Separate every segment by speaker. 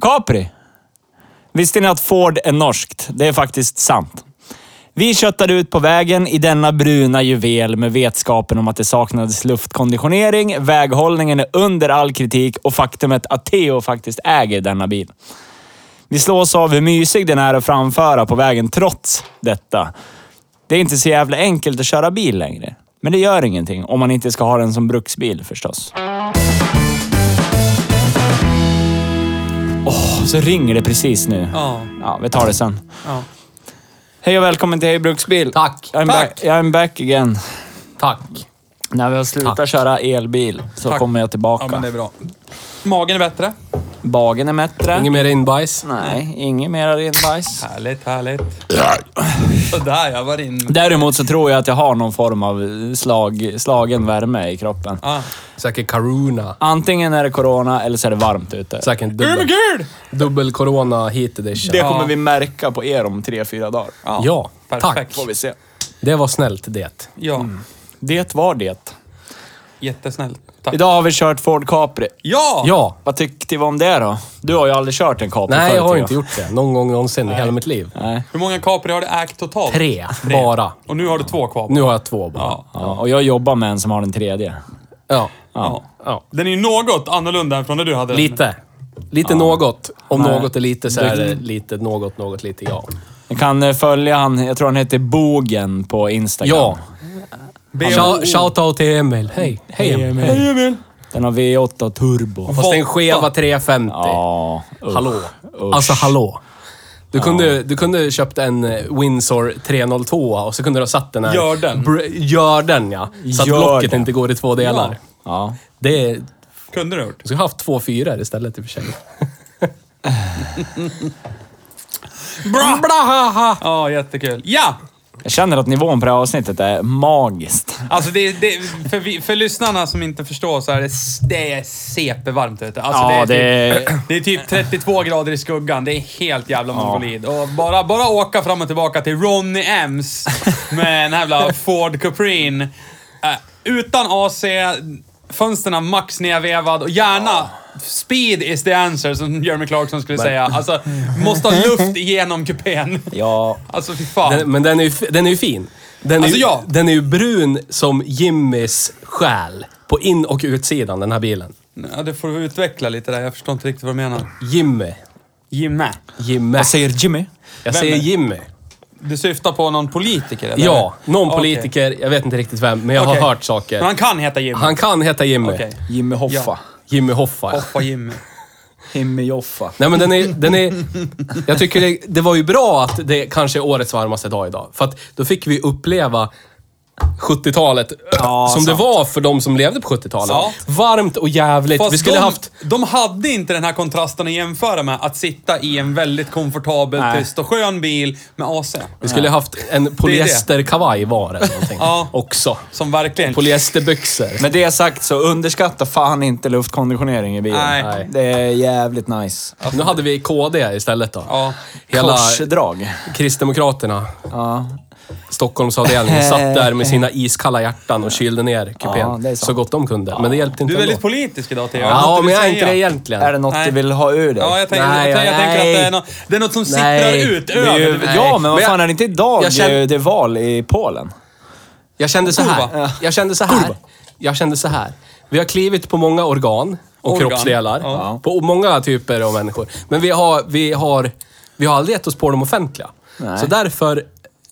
Speaker 1: Capri. Visste ni att Ford är norskt? Det är faktiskt sant. Vi köttade ut på vägen i denna bruna juvel med vetskapen om att det saknades luftkonditionering, väghållningen är under all kritik och faktumet att Theo faktiskt äger denna bil. Vi slås av hur mysig den är att framföra på vägen trots detta. Det är inte så jävla enkelt att köra bil längre. Men det gör ingenting om man inte ska ha den som bruksbil förstås. Åh, så ringer det precis nu.
Speaker 2: Ja.
Speaker 1: Ja, vi tar det sen.
Speaker 2: Ja.
Speaker 1: Hej och välkommen till Hej Bruksbil.
Speaker 3: Tack.
Speaker 1: I'm
Speaker 2: Tack.
Speaker 1: back, I'm back again.
Speaker 3: Tack.
Speaker 1: När vi har slutat
Speaker 3: Tack.
Speaker 1: köra elbil så
Speaker 2: Tack.
Speaker 1: kommer jag tillbaka.
Speaker 2: ja, men det är bra. Magen är bättre.
Speaker 1: Bagen är mättre.
Speaker 3: Inget mer inbajs?
Speaker 1: Nej, inget mera renbajs.
Speaker 2: Härligt, härligt. Sådär ja, var in.
Speaker 1: Däremot så tror jag att jag har någon form av slag, slagen värme i kroppen.
Speaker 2: Ah.
Speaker 3: Säkert Caruna.
Speaker 1: Antingen är det corona eller så är det varmt ute.
Speaker 3: Säkert dubbel,
Speaker 2: gud!
Speaker 3: dubbel corona heat edition.
Speaker 1: Det
Speaker 3: Ja,
Speaker 1: kommer
Speaker 2: Ja.
Speaker 1: vi märka på er om tre, fyra dagar.
Speaker 3: tack.
Speaker 2: Perfekt.
Speaker 1: Får vi se.
Speaker 3: Det var snällt det.
Speaker 2: Ja,
Speaker 1: Det var det.
Speaker 2: jättesnällt. Tack.
Speaker 1: Idag har vi kört Ford Capri.
Speaker 2: Ja!
Speaker 3: Ja.
Speaker 1: Vad tyckte vi om det då? Du har ju aldrig kört en Capri
Speaker 3: Nej,
Speaker 1: förut,
Speaker 3: jag har
Speaker 1: tror
Speaker 3: inte gjort det. Någon gång någonsin i hela mitt liv.
Speaker 1: Nej.
Speaker 2: Hur många Capri har du ägt totalt?
Speaker 3: Tre. Bara.
Speaker 2: Och nu har du två kvar.
Speaker 3: Nu har jag två bara.
Speaker 2: Ja.
Speaker 1: Ja, och jag jobbar med en som har den tredje.
Speaker 3: Ja.
Speaker 2: Ja.
Speaker 3: Ja.
Speaker 2: Den är ju något annorlunda än från när du hade den.
Speaker 3: Lite. Lite något. Om
Speaker 1: Nej.
Speaker 3: något är lite så är det lite något, något lite ja.
Speaker 1: Ni kan eh, följa han, jag tror han heter Bogen på Instagram.
Speaker 3: Ja.
Speaker 2: B-
Speaker 3: Shou- Shoutout till Emil. Hej. Hej Emil.
Speaker 2: Hej Emil!
Speaker 1: Den har V8 turbo.
Speaker 3: Fast en skeva 350.
Speaker 1: Ja, usch.
Speaker 3: Hallå.
Speaker 1: Usch.
Speaker 3: Alltså hallå. Du kunde, du kunde köpt en eh, Windsor 302 och så kunde du ha satt den här...
Speaker 2: Gör den.
Speaker 3: Br- gör den ja. Så att
Speaker 1: Gör
Speaker 3: blocket
Speaker 1: den.
Speaker 3: inte går i två delar.
Speaker 1: Ja.
Speaker 3: Det är...
Speaker 2: Kunde du ha gjort.
Speaker 3: Du skulle haft två fyror istället i och för sig.
Speaker 2: Bra! Ja, jättekul. Ja!
Speaker 1: Jag känner att nivån på det här avsnittet är magiskt.
Speaker 2: Alltså det, det, för, vi, för lyssnarna som inte förstår så är det, det är CP-varmt ute. Alltså
Speaker 1: Ja,
Speaker 2: det, är
Speaker 1: det
Speaker 2: typ,
Speaker 1: är-
Speaker 2: det är typ 32 grader i skuggan. Det är helt jävla mongolid. Och bara, bara åka fram och tillbaka till Ronny Ems med en jävla Ford Caprin. Eh, utan AC, fönstren max nedvevad och gärna speed is the answer, som Jeremy Clarkson skulle säga. Alltså, måste ha luft igenom kupén.
Speaker 1: Ja.
Speaker 2: Alltså fy fan.
Speaker 3: Den, men den är ju f- den är ju fin. Den är,
Speaker 2: Alltså,
Speaker 3: ju,
Speaker 2: ja.
Speaker 3: den är ju brun som Jimmys själ. På in och utsidan, den här bilen.
Speaker 2: Ja, det får du utveckla lite där. Jag förstår inte riktigt vad du menar.
Speaker 3: Jimmy.
Speaker 2: Jimme.
Speaker 3: Jimmy.
Speaker 1: Vad säger Jimmy?
Speaker 3: Jag
Speaker 2: Alltså, vem
Speaker 3: säger
Speaker 2: är-
Speaker 3: Jimmy.
Speaker 2: Du syftar på någon politiker eller?
Speaker 3: Ja, någon
Speaker 2: Okej.
Speaker 3: politiker. Jag vet inte riktigt vem, men jag
Speaker 2: Okej.
Speaker 3: har hört saker.
Speaker 2: Men han kan heta Jimmy?
Speaker 3: Han kan heta Jimmy.
Speaker 2: Okej.
Speaker 1: Jimmy Hoffa.
Speaker 2: Ja.
Speaker 3: Jimmy Hoffa. ja.
Speaker 2: Hoppa Jimmy.
Speaker 1: Jimmy Joffa.
Speaker 3: Nej men den är, den är... Jag tycker det, det var ju bra att det kanske är årets varmaste dag idag. För att då fick vi uppleva 70-talet
Speaker 1: Ja,
Speaker 3: som
Speaker 1: sant.
Speaker 3: det var för de som levde på 70-talet.
Speaker 2: Sant.
Speaker 3: Varmt och jävligt.
Speaker 2: Fast
Speaker 3: vi skulle
Speaker 2: de,
Speaker 3: haft...
Speaker 2: de hade inte den här kontrasten att jämföra med. Att sitta i en väldigt komfortabel,
Speaker 1: Nej.
Speaker 2: tyst och skön bil med AC.
Speaker 3: Vi skulle haft en polyesterkavaj var eller någonting.
Speaker 2: Ja.
Speaker 3: Också.
Speaker 2: Som verkligen...
Speaker 3: Polyesterbyxor.
Speaker 1: Med det sagt så underskatta fan inte luftkonditionering i bilen.
Speaker 2: Nej.
Speaker 3: Nej.
Speaker 1: Det är jävligt nice.
Speaker 3: Nu hade vi KD istället då.
Speaker 2: Ja.
Speaker 3: Hela
Speaker 1: Korsdrag.
Speaker 3: Kristdemokraterna,
Speaker 1: Ja.
Speaker 3: Stockholmsavdelningen, satt där med sina iskalla hjärtan och kylde ner kupén
Speaker 1: Ja, det är sant.
Speaker 3: så gott de kunde. Men det hjälpte inte
Speaker 2: Du är väldigt
Speaker 3: ändå.
Speaker 2: politisk idag Theo.
Speaker 3: Ja,
Speaker 2: Något du
Speaker 3: men
Speaker 2: vill
Speaker 3: jag är inte
Speaker 2: säga?
Speaker 3: det egentligen.
Speaker 1: Är det något
Speaker 2: Nej.
Speaker 1: du vill ha ur dig?
Speaker 2: Ja, jag, tänker,
Speaker 3: Nej,
Speaker 2: jag, tänker- jag
Speaker 3: nej.
Speaker 2: tänker att det är, nå- det är något som sipprar
Speaker 3: Nej.
Speaker 2: ut
Speaker 1: Det är
Speaker 2: över.
Speaker 1: ju, ja, men vad
Speaker 3: Men jag-
Speaker 1: fan är det inte idag
Speaker 3: jag känner-
Speaker 1: det är val i Polen?
Speaker 3: Jag kände så här.
Speaker 2: Kurva.
Speaker 3: Jag kände så här. Jag kände så här. Vi har klivit på många organ och
Speaker 2: Organ.
Speaker 3: kroppsdelar.
Speaker 2: Ja.
Speaker 3: På många typer av människor. Men vi har, vi har, vi har aldrig gett oss på de offentliga.
Speaker 1: Nej.
Speaker 3: Så därför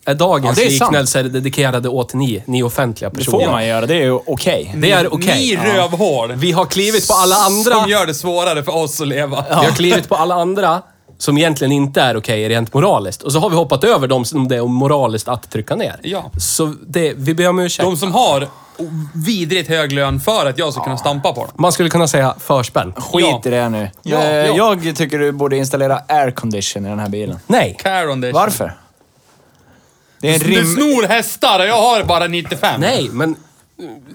Speaker 3: är dagens
Speaker 1: Ja, det är sant.
Speaker 3: liknelser dedikerade åt ni, ni offentliga
Speaker 1: Det får
Speaker 3: personer.
Speaker 1: man göra, det är ju okej.
Speaker 3: Det är okej.
Speaker 2: Ni rövhål!
Speaker 3: Vi har klivit på alla andra.
Speaker 2: Som gör det svårare för oss att leva.
Speaker 3: Vi har klivit på alla andra som egentligen inte är okej rent moraliskt. Och så har vi hoppat över dem som det är moraliskt att trycka ner.
Speaker 2: Ja.
Speaker 3: Så det, vi ber om ursäkt.
Speaker 2: De som har vidrigt hög lön för att jag ska kunna stampa på dem.
Speaker 3: Man skulle kunna säga förspänn.
Speaker 1: Skit
Speaker 2: Ja.
Speaker 1: i det här nu.
Speaker 2: Ja,
Speaker 1: Eh,
Speaker 2: ja.
Speaker 1: Jag tycker du borde installera aircondition i den här bilen.
Speaker 3: Nej.
Speaker 2: Care on this.
Speaker 1: Varför? Alltså, Det är en
Speaker 2: Du
Speaker 1: rim...
Speaker 2: snor hästar och jag har bara 95.
Speaker 3: Nej, men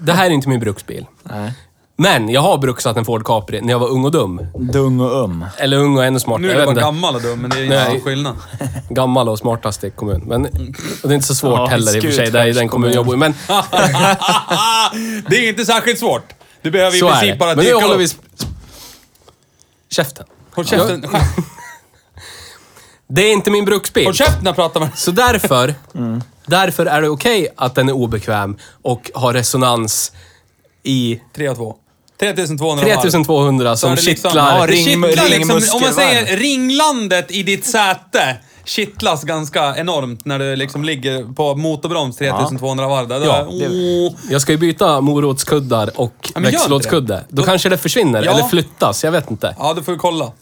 Speaker 3: det här är inte min bruksbil.
Speaker 1: Nej.
Speaker 3: Men jag har bruksat en Ford Capri när jag var ung och dum.
Speaker 1: Dung och um.
Speaker 3: Eller ung och ännu smartare.
Speaker 2: Nu är
Speaker 3: jag
Speaker 2: du
Speaker 3: vet
Speaker 2: bara
Speaker 3: inte.
Speaker 2: gammal och dum, men det är inte
Speaker 3: Nej.
Speaker 2: någon skillnad.
Speaker 3: Gammal och smartast i kommun. Men, och det är inte så svårt
Speaker 1: Ja,
Speaker 3: heller i och för sig.
Speaker 1: Skutskär
Speaker 3: Det är i den kommun jag bor i. Men
Speaker 2: det är inte särskilt svårt. Du behöver i
Speaker 3: så är
Speaker 2: princip
Speaker 3: det.
Speaker 2: bara
Speaker 3: Men nu
Speaker 2: dyka
Speaker 3: håller
Speaker 2: upp.
Speaker 3: vi... sp- Käften.
Speaker 2: Håll käften. Skärp-
Speaker 3: Det är inte min bruksbil.
Speaker 2: Håll käften Mm. när jag pratar med
Speaker 3: Så därför, därför är det okej att den är obekväm och har resonans i
Speaker 2: 3 och 2. 3200 varv.
Speaker 3: 3200
Speaker 2: Så är
Speaker 3: som
Speaker 2: det liksom-
Speaker 1: Ja,
Speaker 3: kittlar.
Speaker 2: det
Speaker 1: ring-
Speaker 2: kittlar liksom, Om man
Speaker 1: ringmuskelvarv.
Speaker 2: säger ringlandet i ditt säte kittlas ganska enormt när du liksom ligger på motorbroms 3200 varv. där. Då oh.
Speaker 3: Ja,
Speaker 2: är- åh.
Speaker 3: Jag ska ju byta morotskuddar och
Speaker 2: men gör inte
Speaker 3: växellådskudde.
Speaker 2: det.
Speaker 3: Då kanske det försvinner
Speaker 2: Ja.
Speaker 3: eller flyttas, jag vet inte.
Speaker 2: Ja, du får vi kolla.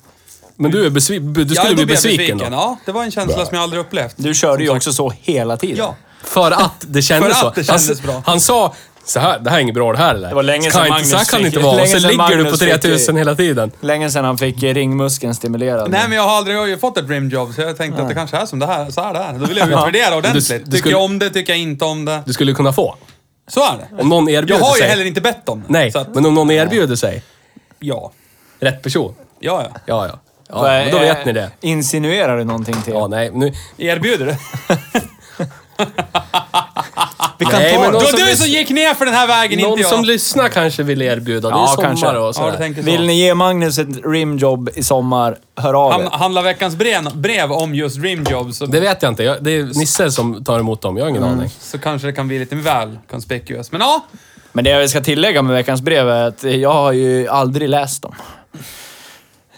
Speaker 3: Men du, är besvi- du skulle
Speaker 2: ja, då
Speaker 3: bli
Speaker 2: blev jag
Speaker 3: besviken då.
Speaker 2: Ja, det var en känsla som jag aldrig upplevt.
Speaker 1: Du körde ju också så hela tiden.
Speaker 2: Ja.
Speaker 3: För att det kändes
Speaker 2: För
Speaker 3: så.
Speaker 2: att det kändes
Speaker 3: han, s-
Speaker 2: bra.
Speaker 3: Han sa så här, det här är inget bra det här eller?
Speaker 1: Det var länge
Speaker 3: Ska
Speaker 1: sedan
Speaker 3: inte- Så här
Speaker 1: Magnus
Speaker 3: kan det inte
Speaker 1: fick-
Speaker 3: vara. Och
Speaker 1: länge
Speaker 3: sen
Speaker 1: sedan
Speaker 3: ligger du på
Speaker 1: Magnus fick-
Speaker 3: 3000 hela tiden.
Speaker 1: Länge sedan han fick eh, ringmuskeln stimulerad.
Speaker 2: Nej, men jag har aldrig jag har ju fått ett rimjobb, så jag tänkte att det kanske är som det här. Så här det är. Då vill jag utvärdera ordentligt.
Speaker 3: du
Speaker 2: Tycker
Speaker 3: skulle-
Speaker 2: jag om det? Tycker jag inte om det?
Speaker 3: Du skulle kunna få.
Speaker 2: Så är det.
Speaker 3: Om någon erbjuder
Speaker 2: Jag har ju
Speaker 3: sig.
Speaker 2: heller inte bett om det.
Speaker 3: Nej,
Speaker 2: Så att,
Speaker 3: men om någon erbjuder sig.
Speaker 2: ja.
Speaker 3: Rätt person.
Speaker 2: Ja, ja.
Speaker 3: Ja, ja. ja
Speaker 1: Vad är-
Speaker 3: men då vet ni det.
Speaker 1: eh, Insinuerar du någonting till?
Speaker 3: Ja, nej. Nu,
Speaker 2: Erbjuder du?
Speaker 1: Vi kan
Speaker 3: Nej,
Speaker 1: ta
Speaker 3: men
Speaker 2: Det
Speaker 1: det.
Speaker 3: då-
Speaker 2: var
Speaker 3: som
Speaker 2: du
Speaker 3: lys-
Speaker 2: som gick ner för den här vägen,
Speaker 3: någon
Speaker 2: inte jag.
Speaker 3: som lyssnar kanske vill erbjuda. Det är
Speaker 1: Ja,
Speaker 3: sommar
Speaker 1: kanske.
Speaker 3: och
Speaker 2: ja,
Speaker 3: sådär.
Speaker 2: du tänker så.
Speaker 1: Vill ni ge Magnus ett rimjobb i sommar, hör av
Speaker 2: Han,
Speaker 1: er.
Speaker 2: handlar veckans brev, brev om just rimjobs så,
Speaker 3: Det vet jag inte. Jag, det är Nisse som tar emot dem. Jag har ingen
Speaker 1: Mm.
Speaker 3: aning.
Speaker 2: så kanske det kan bli lite väl conspicuous. Men ja,
Speaker 1: Men det jag ska tillägga med veckans brev är att jag har ju aldrig läst dem.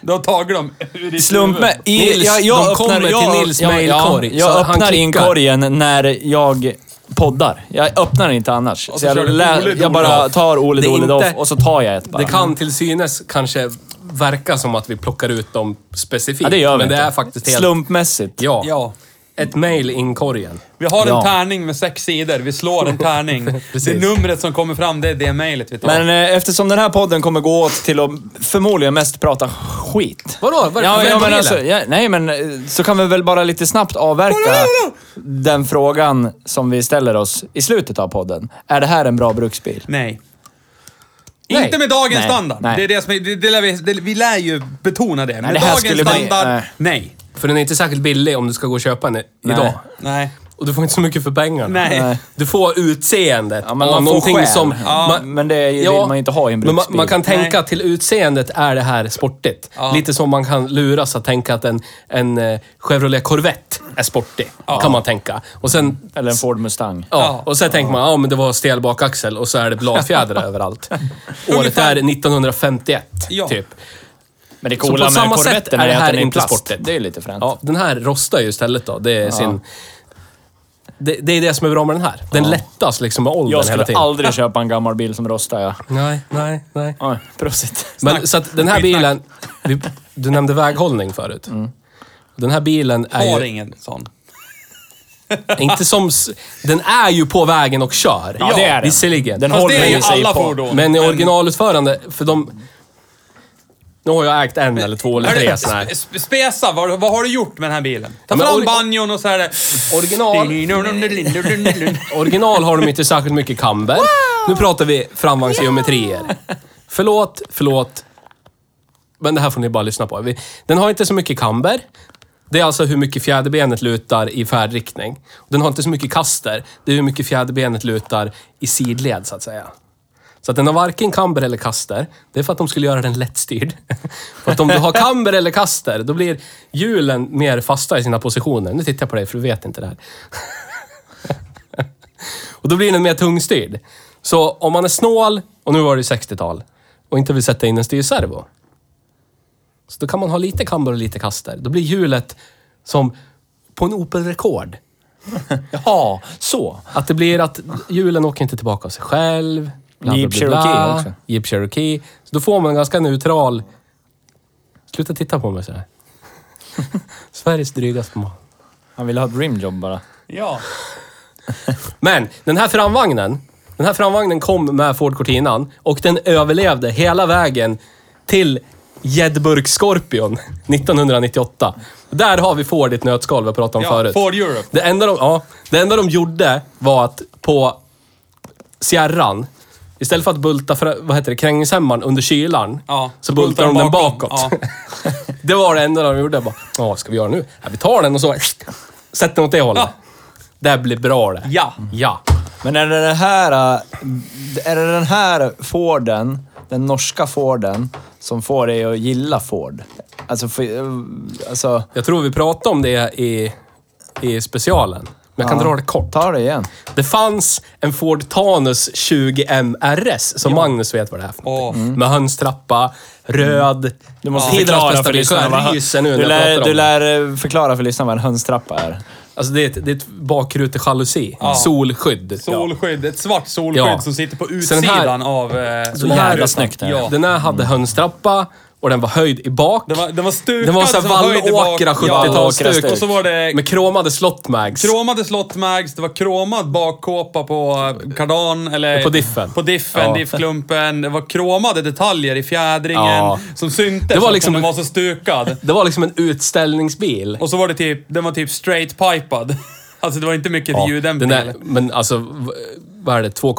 Speaker 2: du har tagit dem ur ditt
Speaker 1: Slump med. I,
Speaker 3: Nils,
Speaker 1: jag, jag
Speaker 3: de
Speaker 1: öppnar,
Speaker 3: kommer
Speaker 1: jag,
Speaker 3: till Nils
Speaker 1: ja,
Speaker 3: mailkorg,
Speaker 1: Ja,
Speaker 3: så
Speaker 1: jag
Speaker 3: han
Speaker 1: öppnar
Speaker 3: klickar.
Speaker 1: inkorgen när jag poddar. Jag öppnar den inte annars.
Speaker 2: Och
Speaker 1: Så
Speaker 2: så kör
Speaker 1: jag,
Speaker 2: du
Speaker 1: lä,
Speaker 2: Ole
Speaker 1: jag bara
Speaker 2: Dolof.
Speaker 1: tar Ole
Speaker 3: Det är
Speaker 1: Dole Doff
Speaker 3: inte-
Speaker 1: och så tar jag ett bara.
Speaker 3: Det kan till synes kanske verka som att vi plockar ut dem specifikt.
Speaker 1: ja, det gör vi
Speaker 3: Men det
Speaker 1: inte.
Speaker 3: är faktiskt helt...
Speaker 1: Slumpmässigt.
Speaker 3: Ja.
Speaker 2: Ja.
Speaker 3: Ett mail i inkorgen.
Speaker 2: Vi har en
Speaker 1: Ja.
Speaker 2: tärning med sex sidor. Vi slår en tärning. det
Speaker 3: Precis.
Speaker 2: numret som kommer fram, det är det mejlet vi tar.
Speaker 1: Men eh, eftersom den här podden kommer gå åt till att förmodligen mest prata skit.
Speaker 3: Vadå? Varför?
Speaker 1: Ja,
Speaker 3: Vem
Speaker 1: ja, men
Speaker 3: gillar?
Speaker 1: alltså, ja, nej, men eh, så kan vi väl bara lite snabbt avverka den frågan som vi ställer oss i slutet av podden. Är det här en bra bruksbil?
Speaker 2: Nej.
Speaker 3: Nej.
Speaker 2: Inte med dagens
Speaker 1: Nej.
Speaker 2: standard.
Speaker 1: Nej.
Speaker 2: Det är det som, är- det, det lär vi, det, vi lär ju betona det. med
Speaker 1: det här
Speaker 2: dagens
Speaker 1: skulle bli-
Speaker 2: standard,
Speaker 1: nej.
Speaker 2: nej.
Speaker 3: För den är inte särskilt billig om du ska gå och köpa den i- idag.
Speaker 2: Nej.
Speaker 3: Och du får inte så mycket för pengarna.
Speaker 2: Nej. Nej.
Speaker 3: Du får utseendet.
Speaker 1: Ja, men man får själ. Ja, men det vill man inte ha i en
Speaker 3: men man,
Speaker 1: bruksbil.
Speaker 3: man kan tänka
Speaker 2: Nej.
Speaker 3: till utseendet, är det här sportigt?
Speaker 2: Ja.
Speaker 3: Lite som man kan luras att tänka att en, en eh, Chevrolet Corvette är sportig. Kan man tänka. Och sen...
Speaker 1: Eller en Ford Mustang?
Speaker 3: Ja, och sen tänker man, ja men det var stel bakaxel och så är det bladfjädrar överallt. Året
Speaker 2: Ungefär.
Speaker 3: är 1951,
Speaker 2: Ja.
Speaker 3: typ.
Speaker 1: Men det
Speaker 3: Så på
Speaker 1: coola med
Speaker 3: samma sätt
Speaker 1: korvetten
Speaker 3: är
Speaker 1: är,
Speaker 3: det
Speaker 1: att
Speaker 3: här
Speaker 1: den är
Speaker 3: inte
Speaker 1: plast.
Speaker 3: sportigt.
Speaker 1: Det är lite fränt.
Speaker 3: Ja, den här rostar ju istället då. Det är sin... Det, det är det som är bra med den här. Den lättas liksom med åldern
Speaker 1: jag
Speaker 3: hela
Speaker 1: skulle
Speaker 3: tiden.
Speaker 1: aldrig köpa en gammal bil som rostar. Jag.
Speaker 3: Nej, nej, nej.
Speaker 1: Oj, prosit.
Speaker 3: Men, så att den här
Speaker 2: Skitsnack.
Speaker 3: bilen... Vi, du nämnde väghållning förut.
Speaker 1: Mm.
Speaker 3: Den här bilen är
Speaker 2: Har
Speaker 3: ju
Speaker 2: ingen sån.
Speaker 3: inte som... s- Den är ju på vägen och kör.
Speaker 1: Ja, det är den.
Speaker 3: Visserligen.
Speaker 1: Den
Speaker 2: Fast det
Speaker 1: håller
Speaker 2: är ju
Speaker 1: ju sig
Speaker 2: alla
Speaker 1: på.
Speaker 2: fordon.
Speaker 3: Men i originalutförande, för de... Nu har jag ägt en eller två eller
Speaker 2: Är
Speaker 3: tre
Speaker 2: det-
Speaker 3: såna här.
Speaker 2: sp- sp- Spesa, vad, vad har du gjort med den här bilen? Ta
Speaker 3: Ja, men
Speaker 2: fram
Speaker 3: ori-
Speaker 2: banjon och så är det...
Speaker 3: Original, original har de inte särskilt mycket kamber. Nu pratar vi framvagnsgeometrier. Förlåt, förlåt. Men det här får ni bara lyssna på. Vi- Den har inte så mycket kamber. Det är alltså hur mycket fjäderbenet lutar i färdriktning. Den har inte så mycket kaster. Det är hur mycket fjäderbenet lutar i sidled, så att säga. Så att den har varken kamber eller kaster. Det är för att de skulle göra den lättstyrd. För att om du har kamber eller kaster, då blir hjulen mer fasta i sina positioner. Nu tittar jag på dig, för du vet inte det här. Och då blir den mer tungstyrd. Så om man är snål, och nu var det ju 60-tal, och inte vill sätta in en styrservo. Så då kan man ha lite kamber och lite kaster. Då blir hjulet som på en Opel Rekord. Jaha, så. Att det blir att hjulen åker inte tillbaka av sig själv. bla, bla,
Speaker 1: Jeep
Speaker 3: bla, bla.
Speaker 1: Cherokee också.
Speaker 3: Jeep Cherokee. Så då får man en ganska neutral... Sluta titta på mig så här. Sveriges drygaste man.
Speaker 1: Han ville ha ett rimjobb bara.
Speaker 2: Ja.
Speaker 3: Men den här framvagnen. Den här framvagnen kom med Ford Cortinan och den överlevde hela vägen till Jedburg Scorpion 1998. Där har vi Ford i ett nötskal vi pratade om
Speaker 2: Ja,
Speaker 3: förut.
Speaker 2: Ford Europe.
Speaker 3: Det enda, de, ja, det enda de gjorde var att på Sierran, istället för att bulta fra- vad heter det, krängningshämmaren under kylan,
Speaker 2: Ja,
Speaker 3: så bultade de den bakåt.
Speaker 2: Ja.
Speaker 3: Det var det enda de gjorde. Jag Bara, "Ja, vad ska vi göra nu? Ja, vi tar den och så sätter den åt det hållet.
Speaker 2: Ja.
Speaker 3: Det blir bra det.
Speaker 2: Ja.
Speaker 3: Ja.
Speaker 1: Men är det den här, äh, är det den här Forden, den norska Forden, som får dig att gilla Ford? Alltså, för, äh, alltså
Speaker 3: Jag tror vi pratade om det i, i specialen. Men jag kan
Speaker 1: Ja.
Speaker 3: dra det kort.
Speaker 1: ta det igen.
Speaker 3: Det fanns en Ford Tanus 20M RS, som Magnus vet vad det är för någonting. Mm.
Speaker 2: Åh.
Speaker 3: Med hönstrappa, röd.
Speaker 1: Du måste
Speaker 3: Tidernas
Speaker 1: förklara
Speaker 3: bästa
Speaker 1: för
Speaker 3: bil.
Speaker 1: lyssnarna.
Speaker 3: Jag
Speaker 1: vad-
Speaker 3: ryser nu när
Speaker 1: du,
Speaker 3: jag pratar
Speaker 1: lär,
Speaker 3: om
Speaker 1: du
Speaker 3: det.
Speaker 1: lär eh, förklara för lyssnarna vad en hönstrappa är.
Speaker 3: Alltså det är ett, det är ett bakrutejalusi.
Speaker 2: Ja.
Speaker 3: Solskydd.
Speaker 2: Solskydd, ett svart solskydd
Speaker 3: Ja.
Speaker 2: som sitter på
Speaker 3: Så den
Speaker 2: utsidan
Speaker 3: här-
Speaker 2: av... Eh,
Speaker 3: Så den här-
Speaker 2: rutan.
Speaker 1: snyggt är det. Mm.
Speaker 2: Ja.
Speaker 3: Den här hade hönstrappa och den var höjd i bak.
Speaker 2: Den var, den var stukad.
Speaker 3: Den var såhär
Speaker 2: så höjd i bak-
Speaker 3: Vallåkra
Speaker 2: Ja.
Speaker 3: 70-talsstuk.
Speaker 2: Och så var det
Speaker 3: Med kromade slottmags.
Speaker 2: kromade slottmags, det var kromad bakkåpa på eh, kardan eller...
Speaker 3: På diffen.
Speaker 2: På diffen,
Speaker 3: Ja.
Speaker 2: diffklumpen. Det var kromade detaljer i fjädringen
Speaker 3: Ja.
Speaker 2: som syntes.
Speaker 3: Det var
Speaker 2: för att
Speaker 3: liksom-
Speaker 2: Den var så stukad.
Speaker 3: Det var liksom en utställningsbil.
Speaker 2: Och så var det typ, den var typ straight pipad. Alltså det var inte mycket
Speaker 3: Ja,
Speaker 2: ljuddämpning.
Speaker 3: den där-
Speaker 2: eller?
Speaker 3: Men alltså, v- vad är det? 2,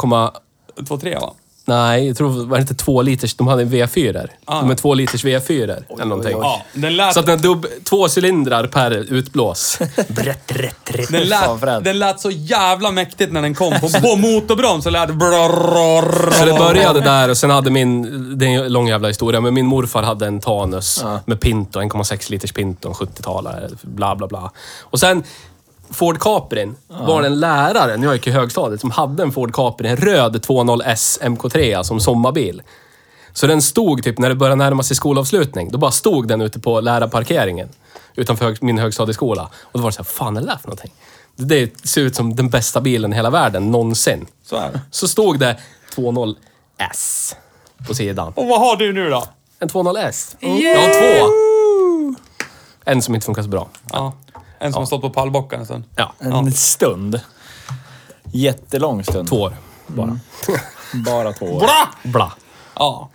Speaker 2: Två, tre va?
Speaker 3: nej, jag tror, var det inte 2 liters? De hade en V4.
Speaker 2: Ah.
Speaker 3: De är 2 liters V4 eller någonting.
Speaker 1: oj, oj.
Speaker 2: Ja, den lät...
Speaker 3: Så att den dubb, två cylindrar per utblås. Brett, rätt, rätt.
Speaker 2: Den
Speaker 1: Fan,
Speaker 2: lät,
Speaker 1: Fred.
Speaker 2: den lät så jävla mäktigt när den kom. På, på motorbroms så lät det... brrrrrrrrrrrrrrrrrrrrrrrrrrr.
Speaker 3: Så det började där och sen hade min, det är en lång jävla historia, men min morfar hade en Tanus med Pinto, 1,6 liters Pinto, en 70-talare, bla bla bla. Och sen Ford Caprin var det en lärare, när jag gick i högstadiet, som hade en Ford Capri, en röd 2.0S MK3 som alltså sommarbil. Så den stod typ, när det började närma sig skolavslutning, då bara stod den ute på lärarparkeringen utanför hög- min högstadieskola. Och då var det så här, fan är det där för någonting? Det- Det ser ut som den bästa bilen i hela världen någonsin.
Speaker 2: Så är det.
Speaker 3: Så stod det 20S på sidan.
Speaker 2: Och vad har du nu då?
Speaker 3: En 20S. Jag har två. En som inte funkar så bra.
Speaker 2: Ja. En som har stått på pallbocken sen.
Speaker 3: Ja,
Speaker 1: En stund. Jättelång stund.
Speaker 3: två år.
Speaker 1: Bara två år.
Speaker 2: Bra!
Speaker 3: Bla.
Speaker 2: Ja.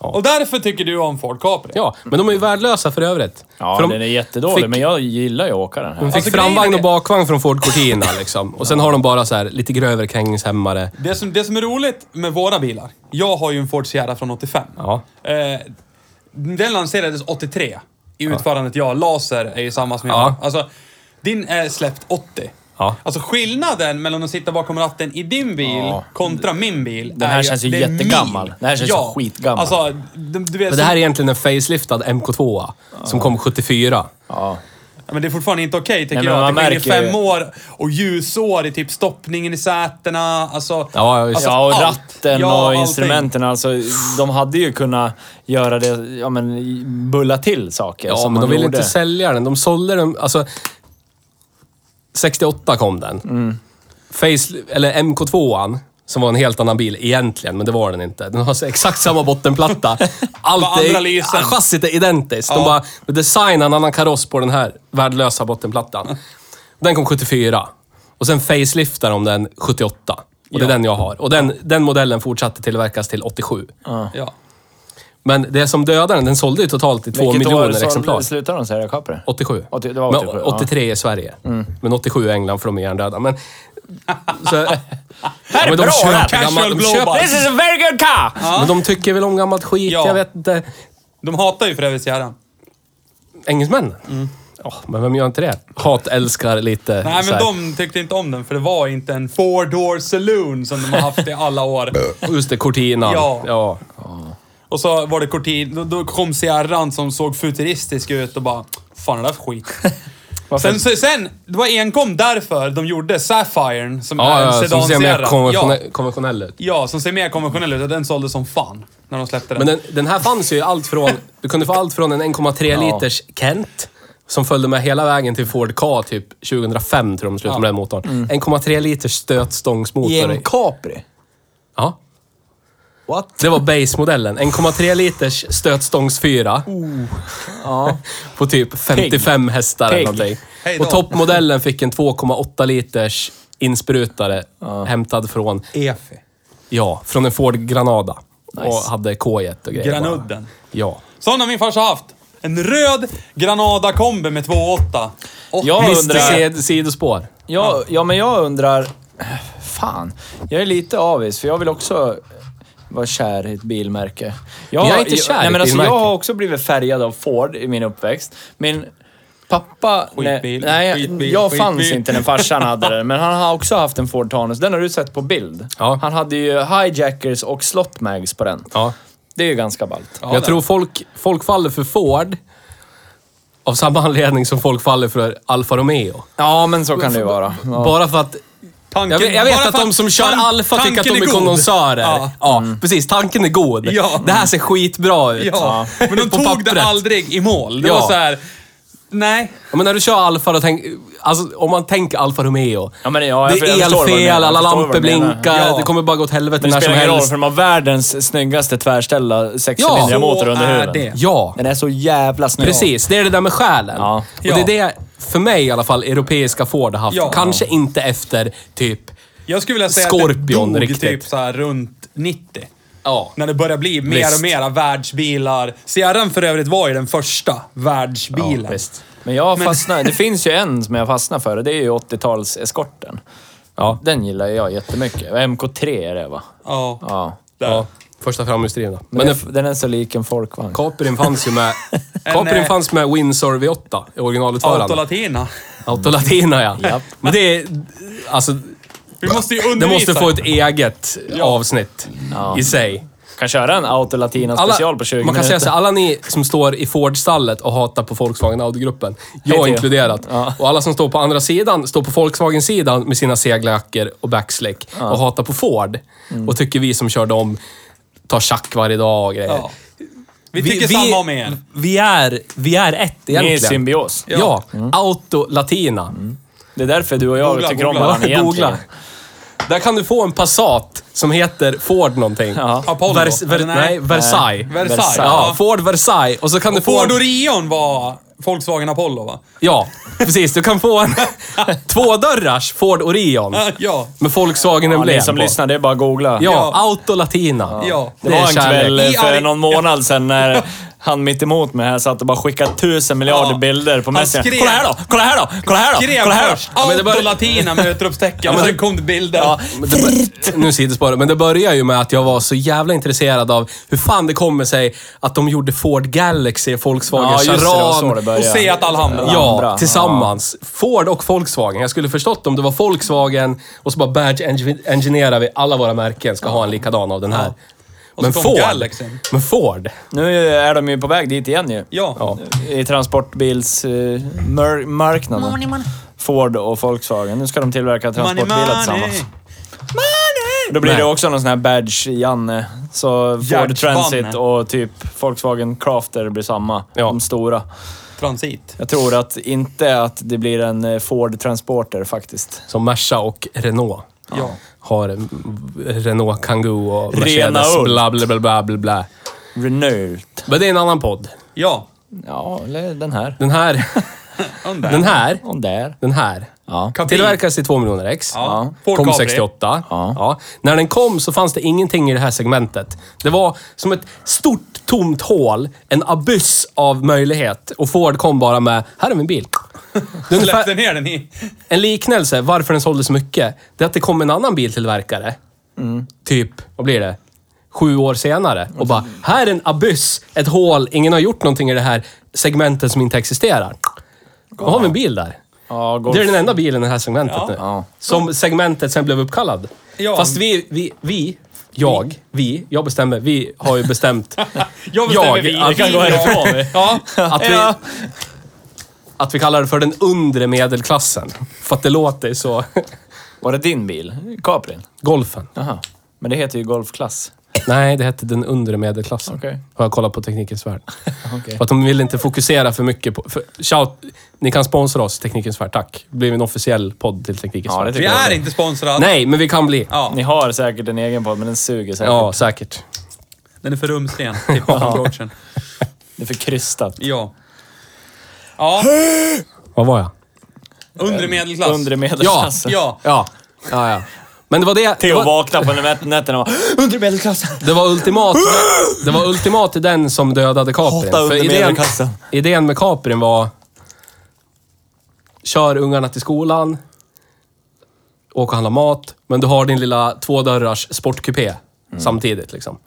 Speaker 2: Och därför tycker du om Ford Capri?
Speaker 3: Ja, men de är ju värdelösa för övrigt.
Speaker 1: Ja,
Speaker 3: för de
Speaker 1: den är jättedålig,
Speaker 3: fick,
Speaker 1: men jag gillar ju att åka den
Speaker 3: De
Speaker 1: här.
Speaker 3: fick
Speaker 2: Alltså,
Speaker 3: framvagn
Speaker 2: grejen är-
Speaker 3: och bakvagn från Ford Cortina liksom. Och sen har de bara så här lite grövre krängningshämmare.
Speaker 2: Det som, det som är roligt med våra bilar. Jag har ju en Ford Sierra från 85.
Speaker 3: Ja.
Speaker 2: Eh, den lanserades 83 i utförandet jag. Laser är ju samma som jag
Speaker 3: Ja.
Speaker 2: har. Alltså, din är släppt 80.
Speaker 3: Ja.
Speaker 2: Alltså skillnaden mellan att sitta bakom ratten i din bil
Speaker 1: Ja.
Speaker 2: kontra min bil
Speaker 1: Den här
Speaker 2: är
Speaker 1: känns ju
Speaker 2: att det är
Speaker 1: jättegammal.
Speaker 2: min.
Speaker 1: Den här känns ju skitgammal.
Speaker 2: Alltså, du, du vet,
Speaker 3: Men det här är egentligen en faceliftad MK2 som kom 74.
Speaker 1: Ja.
Speaker 2: Ja, Men det är fortfarande inte okej tycker
Speaker 1: Nej, men
Speaker 2: jag. Att
Speaker 1: man
Speaker 2: det skiljer
Speaker 1: märker ju-
Speaker 2: fem år och ljusår i typ stoppningen i sätena. Alltså,
Speaker 3: Ja, visst.
Speaker 2: alltså
Speaker 1: Ja, och
Speaker 2: allt.
Speaker 1: ratten
Speaker 2: Ja,
Speaker 1: och
Speaker 2: allting.
Speaker 1: instrumenten. Alltså, de hade ju kunnat göra det, ja men bulla till saker
Speaker 3: Ja,
Speaker 1: som
Speaker 3: men de
Speaker 1: man
Speaker 3: ville
Speaker 1: gjorde.
Speaker 3: inte sälja den. De sålde den, alltså... 68 kom den. Face, eller MK2an, som var en helt annan bil egentligen, men det var den inte. Den har så exakt samma bottenplatta. Allt
Speaker 2: Bara andra
Speaker 3: är,
Speaker 2: lysen.
Speaker 3: ja, chassit är identiskt. De bara designar en annan kaross på den här värdelösa bottenplattan. Den kom 74. Och sen faceliftar de den 78. Och det
Speaker 2: Ja.
Speaker 3: är den jag har. Och den, den modellen fortsatte tillverkas till 87.
Speaker 2: Ja.
Speaker 3: Men det som dödade den, den sålde ju totalt i
Speaker 1: Vilket
Speaker 3: två
Speaker 1: år
Speaker 3: miljoner
Speaker 1: sålde-
Speaker 3: exemplar.
Speaker 1: slutade de sälja Capri?
Speaker 3: 87.
Speaker 1: 80 det var 87,
Speaker 3: men,
Speaker 1: ja.
Speaker 3: 83 i Sverige.
Speaker 2: Mm.
Speaker 3: Men 87 i England för de är hjärndöda. Men... Så, här
Speaker 1: är
Speaker 3: men
Speaker 1: bra
Speaker 3: köper
Speaker 2: där.
Speaker 3: gammal-
Speaker 2: Casual
Speaker 3: de köper,
Speaker 2: global.
Speaker 1: This is a very good car!
Speaker 3: Men de tycker väl om gammalt skit,
Speaker 2: Ja.
Speaker 3: jag vet inte.
Speaker 2: De hatar ju för övrigt Sierran.
Speaker 3: Engelsmännen? Ja, men vem gör inte det? Hat älskar lite
Speaker 2: Mm. Nej,
Speaker 3: så
Speaker 2: men
Speaker 3: här.
Speaker 2: de tyckte inte om den för det var inte en four door saloon som de har haft i alla år.
Speaker 3: Och Just det, Cortinan.
Speaker 2: Ja.
Speaker 3: ja.
Speaker 2: Och så var det Cortin, då, då kom Sierran som såg futuristisk ut och bara, fan är det där för skit? sen, så- sen, det var enkom därför de gjorde Sapphire som
Speaker 3: Ja,
Speaker 2: är en
Speaker 3: ja, som
Speaker 2: sedan
Speaker 3: ser mer
Speaker 2: Sierra.
Speaker 3: konventionell,
Speaker 2: ja,
Speaker 3: konventionell ut.
Speaker 2: ja, som ser mer konventionell ut. och Den sålde som fan när de släppte den.
Speaker 3: Men den, den här fanns ju i allt från... Du kunde få allt från en 1,3 liters Kent. Som följde med hela vägen till Ford Ka typ 2005 tror jag de slutade med den motorn. 1,3 liters
Speaker 4: I
Speaker 3: stötstångsmotor.
Speaker 4: Mm. en Capri?
Speaker 3: Ja.
Speaker 4: What?
Speaker 3: Det var base-modellen. 1,3 liters stötstångsfyra.
Speaker 4: Ja.
Speaker 3: På typ 55 hästar
Speaker 1: Pigg.
Speaker 3: eller någonting.
Speaker 2: Hej då.
Speaker 3: Och toppmodellen fick en 2,8 liters insprutare hämtad från,
Speaker 2: Efi.
Speaker 3: ja, från en Ford Granada. Och
Speaker 1: Nice.
Speaker 3: hade K1 och grejer.
Speaker 2: Granudden.
Speaker 3: Ja.
Speaker 2: Sån har min farsa haft. En röd Granada kombi med 2,8. Och
Speaker 1: Jag
Speaker 3: Jag
Speaker 1: undrar-
Speaker 3: sidospår.
Speaker 1: Ja, ja, men jag undrar... Fan, jag är lite avis för jag vill också vara kär i ett bilmärke.
Speaker 3: Jag är inte kär i
Speaker 1: nej,
Speaker 3: ett
Speaker 1: men alltså,
Speaker 3: bilmärke.
Speaker 1: Jag har också blivit färgad av Ford i min uppväxt. Min pappa...
Speaker 2: Skitbil,
Speaker 1: nej,
Speaker 2: skitbil,
Speaker 1: jag
Speaker 2: skitbil.
Speaker 1: fanns inte när farsan hade den, men han har också haft en Ford Tanus. Den har du sett på bild.
Speaker 3: Ja.
Speaker 1: Han hade ju hijackers och slottmags på den.
Speaker 3: Ja.
Speaker 1: Det är ju ganska ballt.
Speaker 3: jag tror folk, folk faller för Ford av samma anledning som folk faller för Alfa Romeo.
Speaker 1: Ja, men så kan det ju vara. Ja.
Speaker 3: Bara för att...
Speaker 2: tanken-
Speaker 3: Jag vet, jag vet
Speaker 2: bara
Speaker 3: att
Speaker 2: för
Speaker 3: de som kör
Speaker 2: tan-
Speaker 3: Alfa tycker att
Speaker 2: tanken
Speaker 3: de är,
Speaker 2: god.
Speaker 3: kondensörer.
Speaker 2: Ja.
Speaker 3: Ja,
Speaker 1: Mm.
Speaker 3: precis. Tanken är god.
Speaker 2: Ja.
Speaker 3: Det här ser skitbra ut.
Speaker 2: Ja. Men de
Speaker 3: På
Speaker 2: tog
Speaker 3: pappret.
Speaker 2: det aldrig i mål. Det
Speaker 3: Ja.
Speaker 2: var så här. nej.
Speaker 3: Ja, men när du kör Alfa, då tänk, alltså, om man tänker Alfa Romeo.
Speaker 1: Ja, men ja, jag
Speaker 3: det
Speaker 1: för- jag
Speaker 3: är
Speaker 1: förstår vad du
Speaker 3: elfel,
Speaker 1: menar.
Speaker 3: alla
Speaker 1: Jag förstår
Speaker 3: lampor
Speaker 1: vad du menar.
Speaker 3: blinkar,
Speaker 2: Ja.
Speaker 3: det kommer bara gå åt helvete
Speaker 1: Det
Speaker 3: när som
Speaker 1: spelar ingen roll,
Speaker 3: helst.
Speaker 1: för de har världens snyggaste tvärställda
Speaker 3: Ja,
Speaker 1: sexcylindriga
Speaker 3: så
Speaker 1: motor under
Speaker 2: är
Speaker 1: huven.
Speaker 2: det.
Speaker 3: Ja,
Speaker 1: Den är så jävla snygg.
Speaker 3: precis. Det är det där med själen.
Speaker 1: Ja.
Speaker 3: Och det är det, för mig i alla fall, europeiska Ford har haft.
Speaker 2: Ja.
Speaker 3: Kanske inte efter typ...
Speaker 2: Jag skulle vilja säga att det
Speaker 3: Scorpion,
Speaker 2: dog
Speaker 3: riktigt.
Speaker 2: typ så här runt 90.
Speaker 3: Ja.
Speaker 2: När det börjar bli mer
Speaker 3: Visst.
Speaker 2: och mera världsbilar. CRM för övrigt var ju den första världsbilen.
Speaker 3: visst.
Speaker 1: Men jag fastnar, det finns ju en som jag fastnar för och det är ju 80-talseskorten.
Speaker 3: Ja.
Speaker 1: Den gillar jag jättemycket. MK3 är det va?
Speaker 2: Ja.
Speaker 1: Ja.
Speaker 2: Där.
Speaker 3: ja. Första framhjulsdrivna.
Speaker 1: Men
Speaker 3: Men
Speaker 1: den,
Speaker 3: den,
Speaker 1: den är så lik en folkvagn.
Speaker 3: Caprin fanns ju med...
Speaker 2: En,
Speaker 3: Caprin
Speaker 2: eh,
Speaker 3: fanns med Windsor V8 i originalutförandet.
Speaker 2: Autolatina.
Speaker 3: Autolatina, ja.
Speaker 1: Japp.
Speaker 3: Men det är... Alltså,
Speaker 2: Vi måste ju
Speaker 3: det
Speaker 2: undervisa.
Speaker 3: måste få ett eget avsnitt i sig.
Speaker 1: Kan köra en Auto Latina special på 20
Speaker 3: man kan
Speaker 1: minuter.
Speaker 3: säga så här, alla ni som står i Ford-stallet och hatar på Volkswagen Audi-gruppen, jag
Speaker 1: till er.
Speaker 3: inkluderat,
Speaker 1: Ja.
Speaker 3: och alla som står på andra sidan, står på Volkswagen-sidan med sina seglacker och backslick och hatar på Ford och tycker vi som kör dem tar tjack varje dag och grejer.
Speaker 2: Ja. Vi tycker samma om er.
Speaker 3: Vi är, vi är ett
Speaker 1: Ni är i
Speaker 3: egentligen.
Speaker 1: symbios.
Speaker 3: Ja, Mm. auto-latina.
Speaker 1: Det är därför du och jag
Speaker 2: Googla,
Speaker 1: tycker om
Speaker 2: googla.
Speaker 1: varandra egentligen.
Speaker 3: Googla. Där kan du få en Passat som heter Ford någonting.
Speaker 1: Ja.
Speaker 2: Apollo?
Speaker 3: Vers, ver,
Speaker 2: Eller
Speaker 3: nej,
Speaker 2: nej? Eh,
Speaker 3: Versailles.
Speaker 2: Versailles.
Speaker 1: Versailles.
Speaker 3: Ja, Ford Versailles. Och så kan du få...
Speaker 2: Ford
Speaker 3: en-
Speaker 2: Orion var Volkswagen Apollo va?
Speaker 3: Ja, precis. Du kan få en tvådörrars Ford Orion.
Speaker 2: Ja.
Speaker 3: Med
Speaker 1: Ja,
Speaker 3: Volkswagen-emblem
Speaker 1: ni som
Speaker 3: på.
Speaker 1: lyssnar, det är bara att googla.
Speaker 3: Ja,
Speaker 2: Ja.
Speaker 3: Auto Latina.
Speaker 2: Ja.
Speaker 1: Det var en
Speaker 3: kärlek.
Speaker 1: kväll eh,
Speaker 2: I
Speaker 1: för
Speaker 2: arg-
Speaker 1: någon månad sedan när han mitt emot mig här satt och bara skickade tusen miljarder
Speaker 2: Ja.
Speaker 1: bilder på
Speaker 2: Han
Speaker 1: Messenger.
Speaker 2: skrev-
Speaker 1: Kolla här då! Kolla här då! Kolla här då!
Speaker 2: Skrev
Speaker 1: kolla här då!
Speaker 2: först
Speaker 1: Ja, men det bara-
Speaker 2: Autolatina med utropstecken och sen kom det bilder.
Speaker 1: Ja,
Speaker 3: Men det bör- nu sidospår, men det börjar ju med att jag var så jävla intresserad av hur fan det kommer sig att de gjorde Ford Galaxy, Volkswagen
Speaker 1: ja, just det. Det var så det
Speaker 3: Charan.
Speaker 1: började.
Speaker 2: och se att Alhambra.
Speaker 3: Ja,
Speaker 1: Andra.
Speaker 3: tillsammans. Ford och Volkswagen. Jag skulle förstått om det var Volkswagen och så bara badge engi- engineerar vi alla våra märken ska ha en likadan av den här.
Speaker 2: Och så kom Galaxen.
Speaker 3: Men Ford.
Speaker 1: Nu är de ju på väg dit igen ju.
Speaker 2: Ja.
Speaker 3: Ja.
Speaker 1: I transportbilsmarknaden. Ford och Volkswagen. Nu ska de tillverka
Speaker 2: Money,
Speaker 1: transportbilar tillsammans.
Speaker 2: money.
Speaker 1: Då blir
Speaker 3: Nej.
Speaker 1: det också någon sån här Badge-Janne. Så Ford
Speaker 2: Gärds
Speaker 1: Transit
Speaker 2: Banne.
Speaker 1: och typ Volkswagen Crafter blir samma.
Speaker 3: Ja.
Speaker 1: De stora.
Speaker 2: Transit.
Speaker 1: Jag tror att inte att det blir en eh, Ford Transporter faktiskt.
Speaker 3: Som Merca och Renault.
Speaker 2: Ja.
Speaker 3: Har en Renault Kangoo och Mercedes
Speaker 1: Renault.
Speaker 3: bla bla bla bla bla bla.
Speaker 1: Renault.
Speaker 3: Men det är en annan podd.
Speaker 2: Ja.
Speaker 1: Ja, eller den här.
Speaker 3: Den här,
Speaker 2: Under.
Speaker 3: den här,
Speaker 1: Och där.
Speaker 3: den här.
Speaker 1: Ja.
Speaker 2: Capri.
Speaker 3: Tillverkas i 2 miljoner ex.
Speaker 2: Ja. Ford
Speaker 3: Kom
Speaker 2: Capri.
Speaker 3: 68.
Speaker 1: Ja.
Speaker 3: När den kom så fanns det ingenting i det här segmentet. Det var som ett stort tomt hål, en abyss av möjlighet. Och Ford kom bara med, här är min bil. Det är
Speaker 2: Släppte
Speaker 3: ungefär,
Speaker 2: ner den i...
Speaker 3: en liknelse, varför den sålde så mycket, det är att det kom en annan biltillverkare.
Speaker 1: Mm.
Speaker 3: Typ, vad blir det? Sju år senare och bara, här är en abyss, ett hål, ingen har gjort någonting i det här segmentet som inte existerar. Då har vi en bil där.
Speaker 1: Ja, Golf.
Speaker 3: Det är den enda bilen i det här segmentet
Speaker 2: Ja.
Speaker 3: nu.
Speaker 1: Ja.
Speaker 3: Som segmentet sen blev uppkallad.
Speaker 2: Ja.
Speaker 3: Fast vi, vi, vi, jag, vi, jag bestämmer, vi har ju bestämt.
Speaker 2: Jag bestämmer vi.
Speaker 3: att-
Speaker 2: Vi kan gå härifrån.
Speaker 3: ja, att vi,
Speaker 1: Ja.
Speaker 3: att vi kallar det för den undre medelklassen. För att det låter så...
Speaker 1: Var det din bil? Caprin?
Speaker 3: Golfen.
Speaker 1: Jaha. Men det heter ju golfklass.
Speaker 3: Nej, det hette den undre medelklassen.
Speaker 1: Okej.
Speaker 3: Har jag kollat på Teknikens Värld.
Speaker 1: Okej.
Speaker 3: För att de vill inte fokusera för mycket på... För, shout, ni kan sponsra oss, Teknikens Värld. Tack. Det blev en officiell podd till Teknikens
Speaker 1: Ja, det
Speaker 3: Värld.
Speaker 2: Vi
Speaker 1: tycker jag.
Speaker 2: är inte sponsrade.
Speaker 3: Nej, men vi kan bli.
Speaker 2: Ja,
Speaker 1: Ni har säkert en egen podd, men den suger säkert.
Speaker 3: Ja, säkert.
Speaker 2: den är för rumsren. Tippa från coachen.
Speaker 1: Det är för krystat.
Speaker 2: Ja. Ja,
Speaker 3: Vad var jag?
Speaker 2: undre medelklass.
Speaker 1: Undre medelklassen.
Speaker 2: Ja,
Speaker 3: Ja. Ja, ja. Men det var det... det
Speaker 1: Theo
Speaker 3: var,
Speaker 1: vaknar på nät- nätterna och bara, Undre medelklassen!
Speaker 3: det var ultimat... Det var ultimat i den som dödade Caprin.
Speaker 1: Hata
Speaker 3: För
Speaker 1: under
Speaker 3: idén,
Speaker 1: medelklassen.
Speaker 3: idén med Caprin var... Kör ungarna till skolan. Åk och handla mat. Men du har din lilla tvådörrars sportkupé
Speaker 1: Mm.
Speaker 3: samtidigt liksom.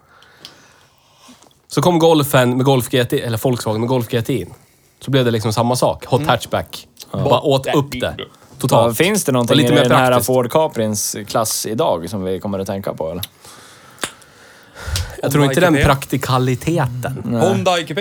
Speaker 3: Så kom golfen med Golf GT, eller Volkswagen med Golf GT in. Så blev det liksom samma sak.
Speaker 1: Mm.
Speaker 3: Hot hatchback. Bara åt upp det. Totalt.
Speaker 1: Ja, finns det
Speaker 3: Och
Speaker 1: någonting
Speaker 3: lite
Speaker 1: i
Speaker 3: mer
Speaker 1: den här
Speaker 3: praktiskt.
Speaker 1: Ford Caprins klass idag som vi kommer att tänka på eller?
Speaker 3: Jag tror
Speaker 2: Honda
Speaker 3: inte den
Speaker 2: IQP.
Speaker 3: praktikaliteten.
Speaker 2: Honda IQP.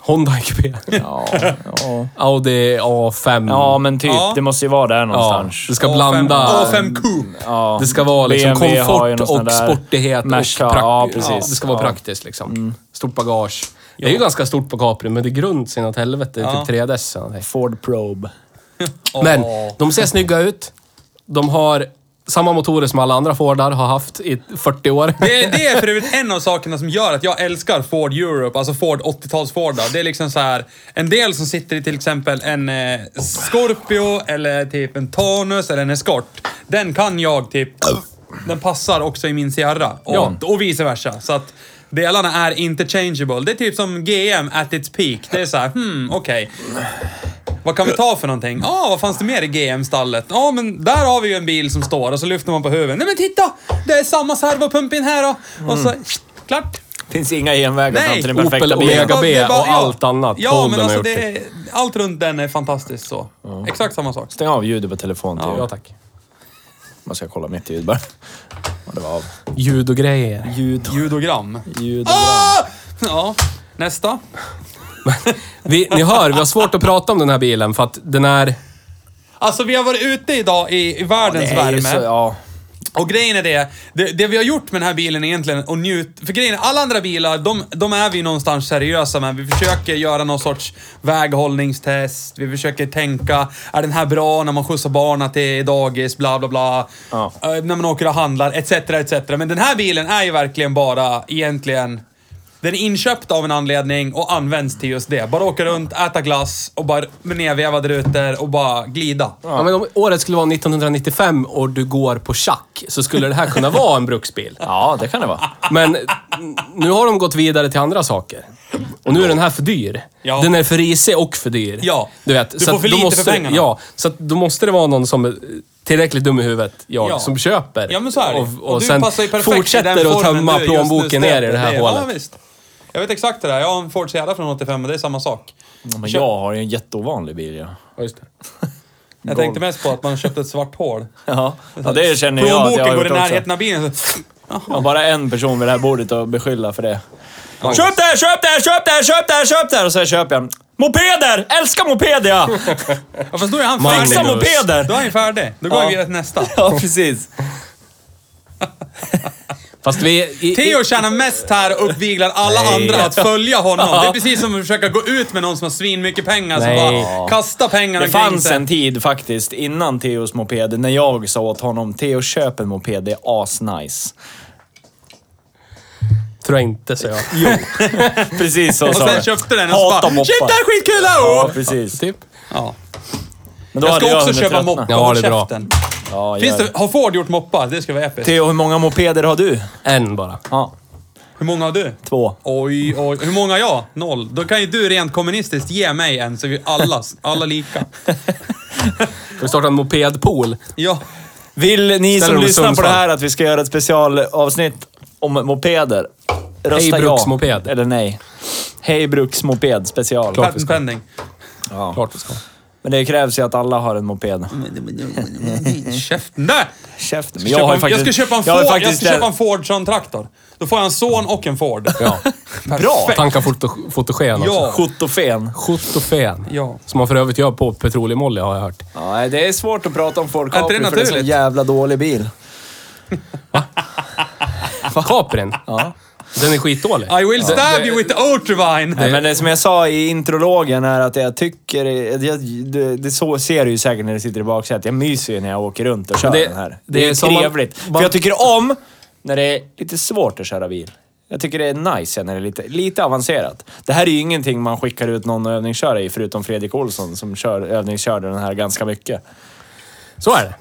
Speaker 3: Honda IQP.
Speaker 1: Mm. Ja, ja.
Speaker 3: Audi A5.
Speaker 1: ja men typ.
Speaker 2: Ja.
Speaker 1: Det måste ju vara där
Speaker 3: Ja,
Speaker 1: någonstans.
Speaker 3: du ska blanda...
Speaker 2: A5 Coupe.
Speaker 1: Ja.
Speaker 3: Det ska vara liksom
Speaker 1: BMW har ju
Speaker 3: komfort
Speaker 1: något
Speaker 3: och
Speaker 1: sånt där.
Speaker 3: sportighet
Speaker 1: Merca,
Speaker 3: och prakt-
Speaker 1: ja, precis.
Speaker 3: Det ska vara
Speaker 1: Ja. Mm.
Speaker 3: praktiskt liksom. Stort bagage. Det är ju ganska stort på Capri, men det är grunt sin åt helvete. Det är
Speaker 2: Ja.
Speaker 3: Typ 3DS. eller någonting.
Speaker 1: Ford Probe.
Speaker 3: Men de ser snygga ut. De har samma motorer som alla andra Fordar har haft i 40 år.
Speaker 2: Det är, det är för övrigt en av sakerna som gör att jag älskar Ford Europe, alltså Ford 80-tals Ford. då. Det är liksom så här, en del som sitter i till exempel en eh, Scorpio eller typ en Tanus eller en Escort. Den kan jag typ, den passar också i min Sierra. Och, och vice versa. Så att delarna är interchangeable. Det är typ som GM at its peak. Det är så här, hmm, okej. Vad kan vi ta för någonting? Ja, vad fanns det mer i GM-stallet? Ja, men där har vi ju en bil som står och så lyfter man på huvudet. Nej men titta! Det är samma servopump in här då. Och så, klart.
Speaker 1: Finns inga genvägar
Speaker 2: Nej,
Speaker 1: fram till den
Speaker 2: Opel
Speaker 1: perfekta
Speaker 3: Omega.
Speaker 1: bilen.
Speaker 2: Det är bara-
Speaker 3: B
Speaker 2: det är bara-
Speaker 3: Mm. och allt annat
Speaker 2: Ja,
Speaker 3: Holden
Speaker 2: men
Speaker 3: har
Speaker 2: alltså
Speaker 3: gjort
Speaker 2: det är, allt runt den är fantastiskt så. Exakt samma sak.
Speaker 1: Stäng av ljudet på telefonen typ.
Speaker 3: Ja,
Speaker 1: ja.
Speaker 3: tack.
Speaker 1: Man ska kolla mitt ljud bara. Och det var av.
Speaker 3: Ljud och grejer.
Speaker 1: Ljud.
Speaker 2: Ljudogram.
Speaker 1: ljud
Speaker 2: Ah! Ja, nästa.
Speaker 3: Vi, ni hör, vi har svårt att prata om den här bilen för att den är...
Speaker 2: Alltså vi har varit ute idag i, i världens
Speaker 1: Det är ju
Speaker 2: värme.
Speaker 1: så, ja.
Speaker 2: Och grejen är det, det, det vi har gjort med den här bilen egentligen, och njut... För grejen är, alla andra bilar, de, de är vi någonstans seriösa med. Vi försöker göra någon sorts väghållningstest, vi försöker tänka, är den här bra när man skjutsar barnen till dagis, bla bla bla.
Speaker 1: Ja.
Speaker 2: Eh, när man åker och handlar, etc, etc. Men den här bilen är ju verkligen bara, egentligen, den är inköpt av en anledning och används till just det. Bara åka runt, äta glass och bara med nedvevade rutor och bara glida.
Speaker 3: Ja, men om året skulle vara 1995 och du går på schack så skulle det här kunna vara en bruksbil.
Speaker 1: ja, det kan det vara.
Speaker 3: Men n- nu har de gått vidare till andra saker. Och nu är den här för dyr.
Speaker 2: Ja.
Speaker 3: Den är för risig och för dyr.
Speaker 2: Ja.
Speaker 3: Du, vet,
Speaker 2: Du
Speaker 3: så
Speaker 2: får
Speaker 3: att
Speaker 2: för
Speaker 3: då
Speaker 2: lite
Speaker 3: måste,
Speaker 2: för pengarna.
Speaker 3: Ja, så att då måste det vara någon som är tillräckligt dum i huvudet, jag,
Speaker 2: Ja.
Speaker 3: som köper.
Speaker 2: Ja, men så är det.
Speaker 3: Och, och,
Speaker 2: du
Speaker 3: sen
Speaker 2: passar ju perfekt i den
Speaker 3: fortsätter att
Speaker 2: formen
Speaker 3: tömma
Speaker 2: du just nu
Speaker 3: plånboken
Speaker 2: stöter.
Speaker 3: ner i det här
Speaker 2: ja,
Speaker 3: hålet.
Speaker 2: visst. Jag vet exakt det där. Jag har en Ford Sierra från 85 men det är samma sak.
Speaker 1: Men jag har ju en jätteovanlig bil. Ja.
Speaker 3: Ja, just det.
Speaker 2: Jag tänkte mest på att man köpte ett svart hål.
Speaker 1: Ja, ja det känner jag att jag
Speaker 2: Plånboken
Speaker 1: har
Speaker 2: går i
Speaker 1: gjort
Speaker 2: närheten
Speaker 1: också.
Speaker 2: av bilen. så-
Speaker 1: Jag har bara en person vid det här bordet att beskylla för det.
Speaker 2: Magnus.
Speaker 1: Köp det här, köp det här, köp det här, köp det här, köp det här! Och så köper jag en. Mopeder! Älskar mopeder jag!
Speaker 2: Ja, fast då är han
Speaker 3: Magnus.
Speaker 2: färdig.
Speaker 1: Fixa mopeder!
Speaker 2: Då är han färdig. Då går
Speaker 1: Ja.
Speaker 2: vi vidare till nästa.
Speaker 1: Ja, precis.
Speaker 3: Fast vi... I, i,
Speaker 2: Theo tjänar mest här och uppviglar alla andra att följa honom. Det är precis som att försöka gå ut med någon som har svinmycket pengar som
Speaker 3: Nej.
Speaker 2: bara kastar pengarna
Speaker 1: Det fanns
Speaker 2: sig.
Speaker 1: en tid faktiskt, innan Theos moped, när jag sa åt honom Theo köp en moped, det är asnice.
Speaker 3: tror jag inte, så jag.
Speaker 1: Precis så
Speaker 2: Och
Speaker 1: sa
Speaker 2: sen
Speaker 1: jag.
Speaker 2: köpte den och så
Speaker 1: Hata
Speaker 2: bara
Speaker 1: moppar.
Speaker 2: “Shit, det här är skitkul!”
Speaker 1: Ja,
Speaker 2: ja.
Speaker 1: precis.
Speaker 3: Typ.
Speaker 2: Ja.
Speaker 1: Men då
Speaker 2: Jag
Speaker 1: hade
Speaker 2: ska också
Speaker 1: hunnit
Speaker 2: köpa
Speaker 1: tröttna.
Speaker 2: moppar.
Speaker 3: Ja,
Speaker 2: Håll
Speaker 3: det är bra.
Speaker 2: käften.
Speaker 1: Ja,
Speaker 2: Finns
Speaker 1: gör
Speaker 2: det,
Speaker 1: det.
Speaker 2: har Ford gjort moppar? Det ska vara episkt.
Speaker 1: Theo, hur många mopeder har du?
Speaker 3: En bara.
Speaker 1: Ja,
Speaker 2: Hur många har du?
Speaker 1: två.
Speaker 2: Oj, oj. Hur många har jag? Noll. Då kan ju du rent kommunistiskt ge mig en så vi alla, alla lika.
Speaker 3: Ska vi starta en mopedpool?
Speaker 2: Ja.
Speaker 1: Vill ni
Speaker 3: Ställer
Speaker 1: som
Speaker 3: dem i
Speaker 1: lyssnar på det
Speaker 3: Sundsvall.
Speaker 1: här att vi ska göra ett specialavsnitt om mopeder?
Speaker 3: Hej,
Speaker 1: Rösta
Speaker 3: bruksmoped.
Speaker 1: ja eller nej. Hej bruksmoped special.
Speaker 3: Klart. vi
Speaker 2: Patent
Speaker 3: ska.
Speaker 2: pending.
Speaker 3: Klart vi ska.
Speaker 1: Men det krävs ju att alla har en moped.
Speaker 2: Käften där!
Speaker 1: Käften. Men
Speaker 2: Jag,
Speaker 1: jag, har ju
Speaker 2: jag
Speaker 1: faktiskt,
Speaker 2: ska köpa en
Speaker 1: jag har
Speaker 2: Ford,
Speaker 1: ju
Speaker 2: jag,
Speaker 1: faktiskt
Speaker 2: ska köpa en Fordson-traktor. Då får jag en son och en Ford.
Speaker 3: Ja.
Speaker 1: Bra!
Speaker 3: Tanka foto, fotogen också.
Speaker 2: Ja.
Speaker 1: Chotofen.
Speaker 3: Chotofen.
Speaker 2: Ja.
Speaker 3: Som man för övrigt gör på petroleumolja har jag hört.
Speaker 1: Ja, nej, det är svårt att prata om Ford
Speaker 2: Är inte
Speaker 1: Capri
Speaker 2: det
Speaker 1: för det är en så
Speaker 2: naturligt?
Speaker 1: jävla dålig bil.
Speaker 3: Caprin. Den är skitdålig.
Speaker 2: I will stab you with the Otrivine!
Speaker 1: Nej, men det som jag sa i intrologen är att jag tycker... Jag, det, det så ser du ju säkert när du sitter i baksätet. Jag myser ju när jag åker runt och kör
Speaker 3: Men det-
Speaker 1: den här.
Speaker 3: det
Speaker 1: Det,
Speaker 3: är
Speaker 1: är
Speaker 3: som man-
Speaker 1: trevligt.
Speaker 3: man-
Speaker 1: För jag tycker om när det är lite svårt att köra bil. Jag tycker det är nice när det är lite, lite avancerat. Det här är ju ingenting man skickar ut någon att övningsköra i, förutom Fredrik Olsson som kör, övningskörde den här ganska mycket.
Speaker 3: Så är det.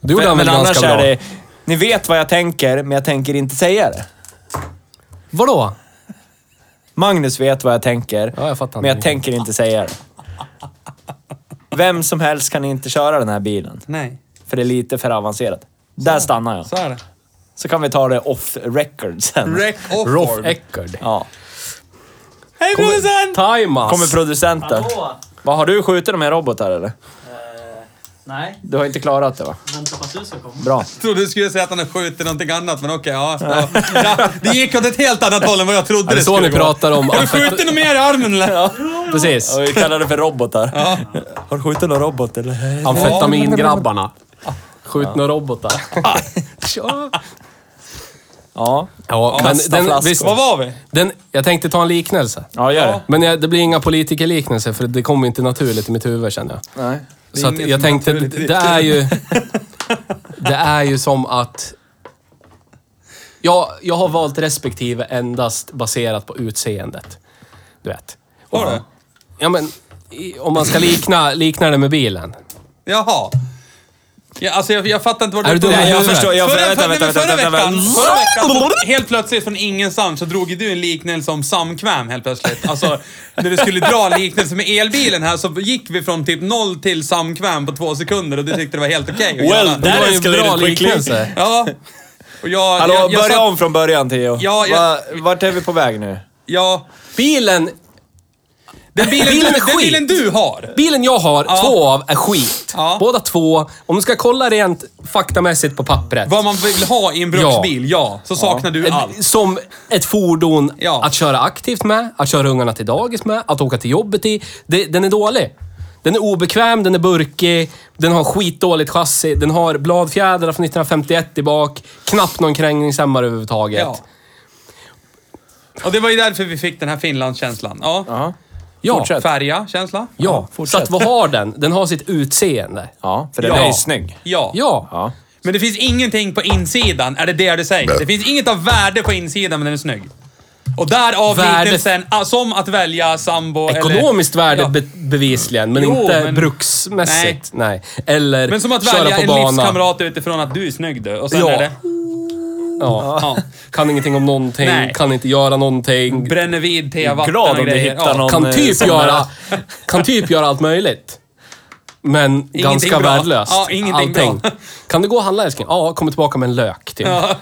Speaker 3: Du gjorde
Speaker 1: Men,
Speaker 3: han väl
Speaker 1: men
Speaker 3: ganska
Speaker 1: annars
Speaker 3: bra.
Speaker 1: är det... Ni vet vad jag tänker, men jag tänker inte säga det.
Speaker 3: Vadå?
Speaker 1: Magnus vet vad jag tänker,
Speaker 3: Ja, jag fattar
Speaker 1: men jag
Speaker 3: inte.
Speaker 1: tänker inte säga det. Vem som helst kan inte köra den här bilen,
Speaker 2: Nej,
Speaker 1: för det är lite för avancerat. Där stannar jag.
Speaker 2: så är det.
Speaker 1: Så kan vi ta det off record sen.
Speaker 2: Wreck
Speaker 3: Rolf
Speaker 2: Offord.
Speaker 3: Eckard.
Speaker 1: Ja.
Speaker 2: Hej producent!
Speaker 3: Timas.
Speaker 1: Kommer producenten.
Speaker 5: Hallå!
Speaker 1: Vad har du skjutit med robotar eller?
Speaker 5: Eh, nej,
Speaker 1: Du har inte klarat det va?
Speaker 5: vänta på att du ska komma.
Speaker 1: Bra.
Speaker 2: Jag trodde du skulle säga att han har skjutit någonting annat, men okej. ja, ja. ja, det gick åt ett helt annat håll än vad jag trodde
Speaker 3: Är det
Speaker 2: det
Speaker 3: så
Speaker 2: skulle
Speaker 3: ni
Speaker 2: gå.
Speaker 3: pratar om?
Speaker 2: Har du skjutit något mer i armen eller?
Speaker 3: Precis.
Speaker 1: Och vi kallar det för robotar. Har du skjutit någon robot eller?
Speaker 3: Amfetamingrabbarna. Skjut några robotar.
Speaker 1: Ja.
Speaker 3: Ja, men
Speaker 1: Kasta
Speaker 3: den,
Speaker 1: flaskor.
Speaker 3: visst,
Speaker 2: Vad var vi?
Speaker 3: den, jag tänkte ta en liknelse.
Speaker 1: Ja, gör det.
Speaker 3: Men jag, det blir inga politikerliknelser för det kommer inte naturligt i mitt huvud känner jag.
Speaker 1: Nej.
Speaker 3: Så att
Speaker 2: inget
Speaker 3: jag tänkte,
Speaker 2: naturligt i ditt
Speaker 3: det är ju... Det är ju som att... Jag, jag har valt respektive endast baserat på utseendet. Du vet.
Speaker 2: Var det?
Speaker 3: Ja, men i- om man ska likna, likna det med bilen.
Speaker 2: Jaha. Ja, alltså jag, jag fattar inte vad
Speaker 3: Är du dum i
Speaker 2: Nej,
Speaker 3: huvudet?
Speaker 1: jag-
Speaker 2: förra,
Speaker 1: vänta,
Speaker 2: förra,
Speaker 1: vänta,
Speaker 2: förra,
Speaker 1: vänta, vänta,
Speaker 2: veckan,
Speaker 1: vänta.
Speaker 2: förra veckan, helt plötsligt från ingenstans så drog ju du en liknelse om samkväm helt plötsligt. Alltså, när du skulle dra en liknelse med elbilen här så gick vi från typ noll till samkväm på två sekunder och du tyckte det var helt okej att göra.
Speaker 1: Well, that
Speaker 3: var ju en
Speaker 1: escalated
Speaker 3: bra
Speaker 1: quickly.
Speaker 3: liknelse.
Speaker 2: Ja. Och jag,
Speaker 1: Hallå,
Speaker 2: jag, jag
Speaker 1: börja
Speaker 2: satt,
Speaker 1: om från början Theo.
Speaker 2: Ja, jag-
Speaker 1: Va, vart är vi på väg nu?
Speaker 2: Ja.
Speaker 3: Bilen,
Speaker 2: Den bilen,
Speaker 3: Bilen
Speaker 2: du,
Speaker 3: är
Speaker 2: den
Speaker 3: skit.
Speaker 2: bilen du har.
Speaker 3: bilen jag har, två av, är skit.
Speaker 2: Ja.
Speaker 3: Båda två. Om du ska kolla rent faktamässigt på pappret.
Speaker 2: Vad man vill ha i en bruksbil, ja. Så saknar du
Speaker 3: Ett-
Speaker 2: allt.
Speaker 3: Som ett fordon
Speaker 2: Ja.
Speaker 3: att köra aktivt med, att köra ungarna till dagis med, att åka till jobbet i. Det, den är dålig. Den är obekväm, den är burkig, den har skitdåligt chassi, den har bladfjädrar från 1951 i bak, knappt någon krängningshämmare överhuvudtaget.
Speaker 2: Ja. Och det var ju därför vi fick den här Finlandskänslan. Ja.
Speaker 1: Ja.
Speaker 3: ja.
Speaker 1: Fortsätt.
Speaker 2: Färja-känsla?
Speaker 3: ja. Så
Speaker 1: fortsätt.
Speaker 3: att vad har den? Den har sitt utseende.
Speaker 1: Ja, för den
Speaker 2: Ja.
Speaker 1: är ju snygg.
Speaker 2: Ja.
Speaker 3: Ja.
Speaker 1: Ja.
Speaker 2: Men det finns ingenting på insidan, är det det du säger? Det finns inget av värde på insidan, men den är snygg. Och därav
Speaker 3: Värdet-
Speaker 2: liknelsen, ah, som att välja sambo
Speaker 3: Ekonomiskt
Speaker 2: eller...
Speaker 3: värde
Speaker 2: Ja.
Speaker 3: be, bevisligen, men
Speaker 2: Jo,
Speaker 3: inte
Speaker 2: men-
Speaker 3: bruksmässigt. Nej. Eller
Speaker 2: Men som att
Speaker 3: köra
Speaker 2: välja
Speaker 3: på
Speaker 2: en
Speaker 3: bana.
Speaker 2: livskamrat utifrån att du är snygg du. Och sen
Speaker 3: Ja.
Speaker 2: är det...
Speaker 3: Ja.
Speaker 2: Ja.
Speaker 3: Kan ingenting om någonting,
Speaker 2: Nej.
Speaker 3: kan inte göra någonting.
Speaker 2: Bränner vid
Speaker 1: Jag är
Speaker 2: tevatten
Speaker 1: glad om
Speaker 2: och
Speaker 1: du
Speaker 2: grejer.
Speaker 1: hittar någon.
Speaker 3: kan
Speaker 1: eh,
Speaker 3: typ
Speaker 1: som
Speaker 3: göra, kan typ göra allt möjligt. Men ganska
Speaker 2: bra.
Speaker 3: värdelöst.
Speaker 2: Ja, ingenting bra.
Speaker 3: Kan du gå och handla älskling? Ja, kommer tillbaka med en lök till.
Speaker 2: Ja.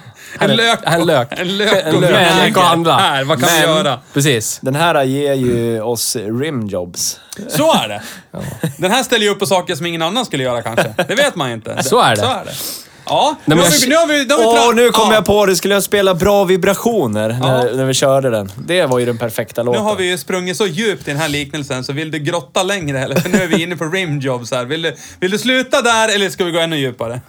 Speaker 3: Här är-
Speaker 2: En lök.
Speaker 3: här är En lök.
Speaker 2: En lök.
Speaker 3: En lök. En lök att handla.
Speaker 2: Här, vad kan vi
Speaker 3: Men-
Speaker 2: göra?
Speaker 3: Precis.
Speaker 1: Den här ger ju oss rimjobs.
Speaker 2: Så är det. Den här ställer ju upp på saker som ingen annan skulle göra kanske. Det vet man ju inte.
Speaker 3: Så är det.
Speaker 2: Så är det. Ja,
Speaker 3: men
Speaker 2: nu, har
Speaker 3: jag-
Speaker 2: vi, nu har vi... Nu har vi
Speaker 1: Åh,
Speaker 2: tra-
Speaker 1: nu kom
Speaker 2: ja.
Speaker 1: jag på det. Skulle jag spela bra vibrationer när, när vi körde den? Det var ju den perfekta
Speaker 2: Nu
Speaker 1: låten.
Speaker 2: har vi ju sprungit så djupt i den här liknelsen, så vill du grotta längre eller? För nu är vi inne på rimjobs här. Vill du, vill du sluta där eller ska vi gå ännu djupare?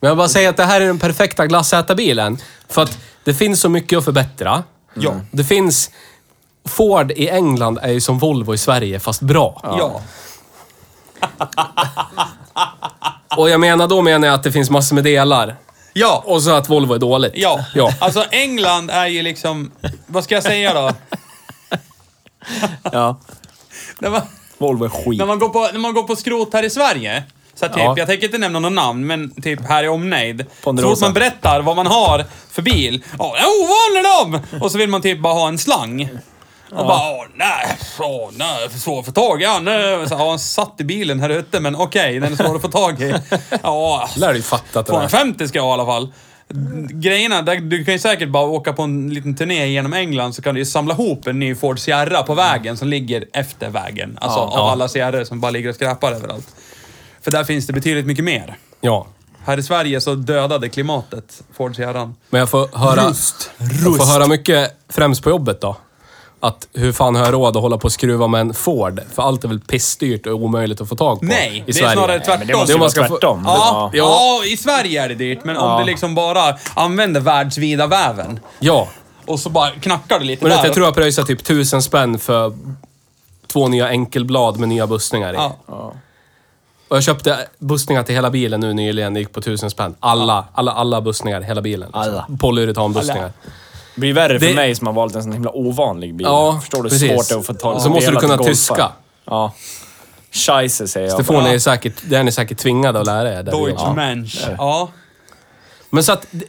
Speaker 3: Men jag bara säger att det här är den perfekta glassätarbilen. För att det finns så mycket att förbättra.
Speaker 2: Ja.
Speaker 3: Det finns... Ford i England är ju som Volvo i Sverige, fast bra.
Speaker 2: Ja.
Speaker 3: Och jag menar, då menar jag att det finns massor med delar.
Speaker 2: Ja.
Speaker 3: Och så att Volvo är dåligt.
Speaker 2: Ja.
Speaker 3: ja.
Speaker 2: Alltså England är ju liksom... Vad ska jag säga då?
Speaker 1: Ja.
Speaker 2: När man,
Speaker 1: Volvo är skit.
Speaker 2: när man, går, på, när man går på skrot här i Sverige. Så här, typ,
Speaker 3: Ja.
Speaker 2: Jag tänker inte nämna något namn, men typ här i omnejd. Så
Speaker 1: Ponderosa.
Speaker 2: fort man berättar vad man har för bil. Ja, det är ovanlig dem! Och så vill man typ bara ha en slang. Och bara, åh nej, åh nej, för svår att få tag i han. eh." Så, Ja, han satt i bilen här ute, men okej, den är svår att få tag i. Ja,
Speaker 3: lär du fatta att det där.
Speaker 2: 250 ska jag ha i alla fall. Grejerna, där- du kan ju säkert bara åka på en liten turné genom England så kan du ju samla ihop en ny Ford Sierra på vägen som ligger efter vägen. Alltså av alla Sierror som bara ligger och skräpar överallt. För där finns det betydligt mycket mer.
Speaker 3: Ja.
Speaker 2: Här i Sverige så dödade klimatet Ford Sierran.
Speaker 3: Men jag får höra, jag får höra mycket främst på jobbet då. att hur fan har jag råd att hålla på och skruva med en Ford? För allt är väl pissdyrt och omöjligt att få tag på
Speaker 2: Nej,
Speaker 3: i
Speaker 2: det är
Speaker 3: Sverige.
Speaker 2: snarare tvärtom.
Speaker 1: Men det måste
Speaker 2: Det
Speaker 1: ju vara
Speaker 3: man ska få-
Speaker 1: tvärtom.
Speaker 2: Ja,
Speaker 1: Ja.
Speaker 2: ja. i Sverige är det dyrt, men om du liksom bara använder världsvida väven
Speaker 3: Ja.
Speaker 2: och så bara knackar du lite
Speaker 3: Men du
Speaker 2: där.
Speaker 3: vet, jag tror jag pröjsade typ tusen spänn för två nya enkelblad med nya bussningar i.
Speaker 2: Ja.
Speaker 3: Och jag köpte bussningar till hela bilen nu nyligen. Det gick på tusen spänn. Alla, alla, alla bussningar, hela bilen. liksom.
Speaker 1: Alla.
Speaker 3: Polyuranbussningar.
Speaker 1: Det blir värre för
Speaker 3: Det-
Speaker 1: mig som har valt en sån himla ovanlig bil.
Speaker 3: Ja,
Speaker 1: Förstår du hur
Speaker 3: precis.
Speaker 1: svårt det är att få tag
Speaker 3: Så måste du
Speaker 1: delar
Speaker 3: kunna
Speaker 1: till golfar?
Speaker 3: tyska.
Speaker 1: Ja. Scheisse säger jag.
Speaker 3: Det får ni säkert, det är ni säkert tvingade att lära er. där i
Speaker 2: Deutsche
Speaker 3: Japan.
Speaker 2: Mensch. Ja.
Speaker 3: Men så att... det-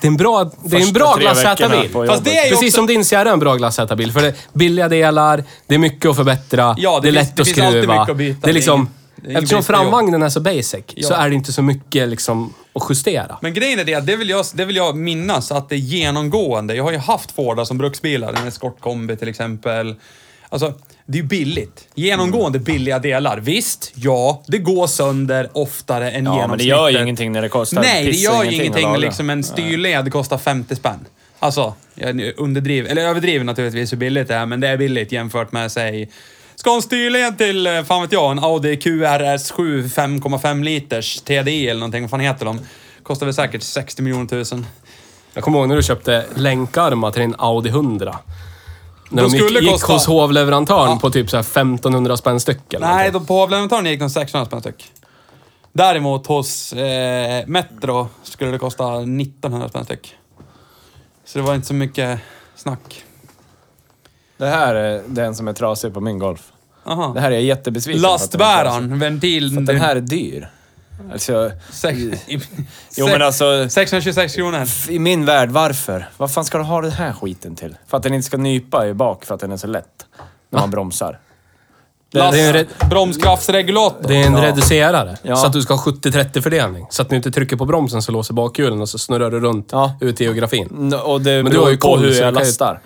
Speaker 3: Det är en bra, det är en
Speaker 1: Första
Speaker 3: bra
Speaker 1: tre veckorna
Speaker 3: glassätarbil.
Speaker 1: på
Speaker 2: Fast det är ju
Speaker 3: Precis
Speaker 2: också...
Speaker 3: som din Sierra är en bra glassätarbil. För det är billiga delar, det är mycket att förbättra,
Speaker 2: Ja, det
Speaker 3: det, är
Speaker 2: finns-
Speaker 3: lätt
Speaker 2: det
Speaker 3: att
Speaker 2: finns
Speaker 3: skruva.
Speaker 2: alltid mycket att byta.
Speaker 3: Det är liksom,
Speaker 2: Det är ingen
Speaker 3: eftersom
Speaker 2: brist på jobb.
Speaker 3: framvagnen är så basic, så
Speaker 2: Ja.
Speaker 3: är det inte så mycket liksom, att justera.
Speaker 2: Men grejen är det, att det vill, jag, det vill jag minnas att det är genomgående. Jag har ju haft Fordar som bruksbilar, en eskortkombi till exempel. Alltså, det är ju billigt. Genomgående billiga delar. Visst, ja, det går sönder oftare än
Speaker 1: Ja, men det
Speaker 2: genomsnittet.
Speaker 1: gör ju ingenting när det kostar
Speaker 2: Nej, det
Speaker 1: piss
Speaker 2: gör
Speaker 1: och
Speaker 2: ju
Speaker 1: ingenting
Speaker 2: ingenting
Speaker 1: att
Speaker 2: när
Speaker 1: laga.
Speaker 2: liksom en styrled kostar 50 spänn. Alltså, jag nu underdriver, eller överdriver naturligtvis hur billigt det är, men det är billigt jämfört med, säg, ska en styrled till, eh, fan vet jag, en Audi QRS7 5,5 liters TDI eller någonting, vad fan heter de? Kostar väl säkert 60 miljoner tusen.
Speaker 3: Jag kommer ihåg när du köpte länkarmar till din Audi 100. När
Speaker 2: De
Speaker 3: de,
Speaker 2: skulle
Speaker 3: gick, gick
Speaker 2: kosta-
Speaker 3: hos hovleverantören
Speaker 2: Ja.
Speaker 3: på typ så här 1500 spänn styck eller
Speaker 2: Nej,
Speaker 3: någonting.
Speaker 2: de på avlönetaren gick de 600 spänn styck. Däremot hos eh, Metro skulle det kosta 1900 spänn styck. Så det var inte så mycket snack.
Speaker 1: Det här är den som är trasig på min golf.
Speaker 2: Aha.
Speaker 1: Det här är jag jättebesviken på att den är trasig.
Speaker 2: Lastbäraren, ventilen.
Speaker 1: Den här är dyr. Alltså,
Speaker 2: Sex,
Speaker 1: jo men alltså...
Speaker 2: 626 kronor.
Speaker 1: I min värld, varför? Vad fan ska du ha den här skiten till? För att den inte ska nypa i bak för att den är så lätt. När man bromsar.
Speaker 2: Last,
Speaker 3: det är en
Speaker 2: bromskraftsregulator.
Speaker 3: Det är en reducerare.
Speaker 1: Ja.
Speaker 3: Så att du ska ha 70-30 fördelning. Så att du inte trycker på bromsen så låser bakhjulen och så snurrar du runt
Speaker 1: Ja.
Speaker 3: ut i geografin.
Speaker 1: N- Och det
Speaker 3: Men
Speaker 1: men
Speaker 3: du
Speaker 1: du
Speaker 3: har ju
Speaker 1: ju på
Speaker 3: koll,
Speaker 1: hur
Speaker 3: så
Speaker 1: jag
Speaker 3: du kan ju-
Speaker 1: lastar.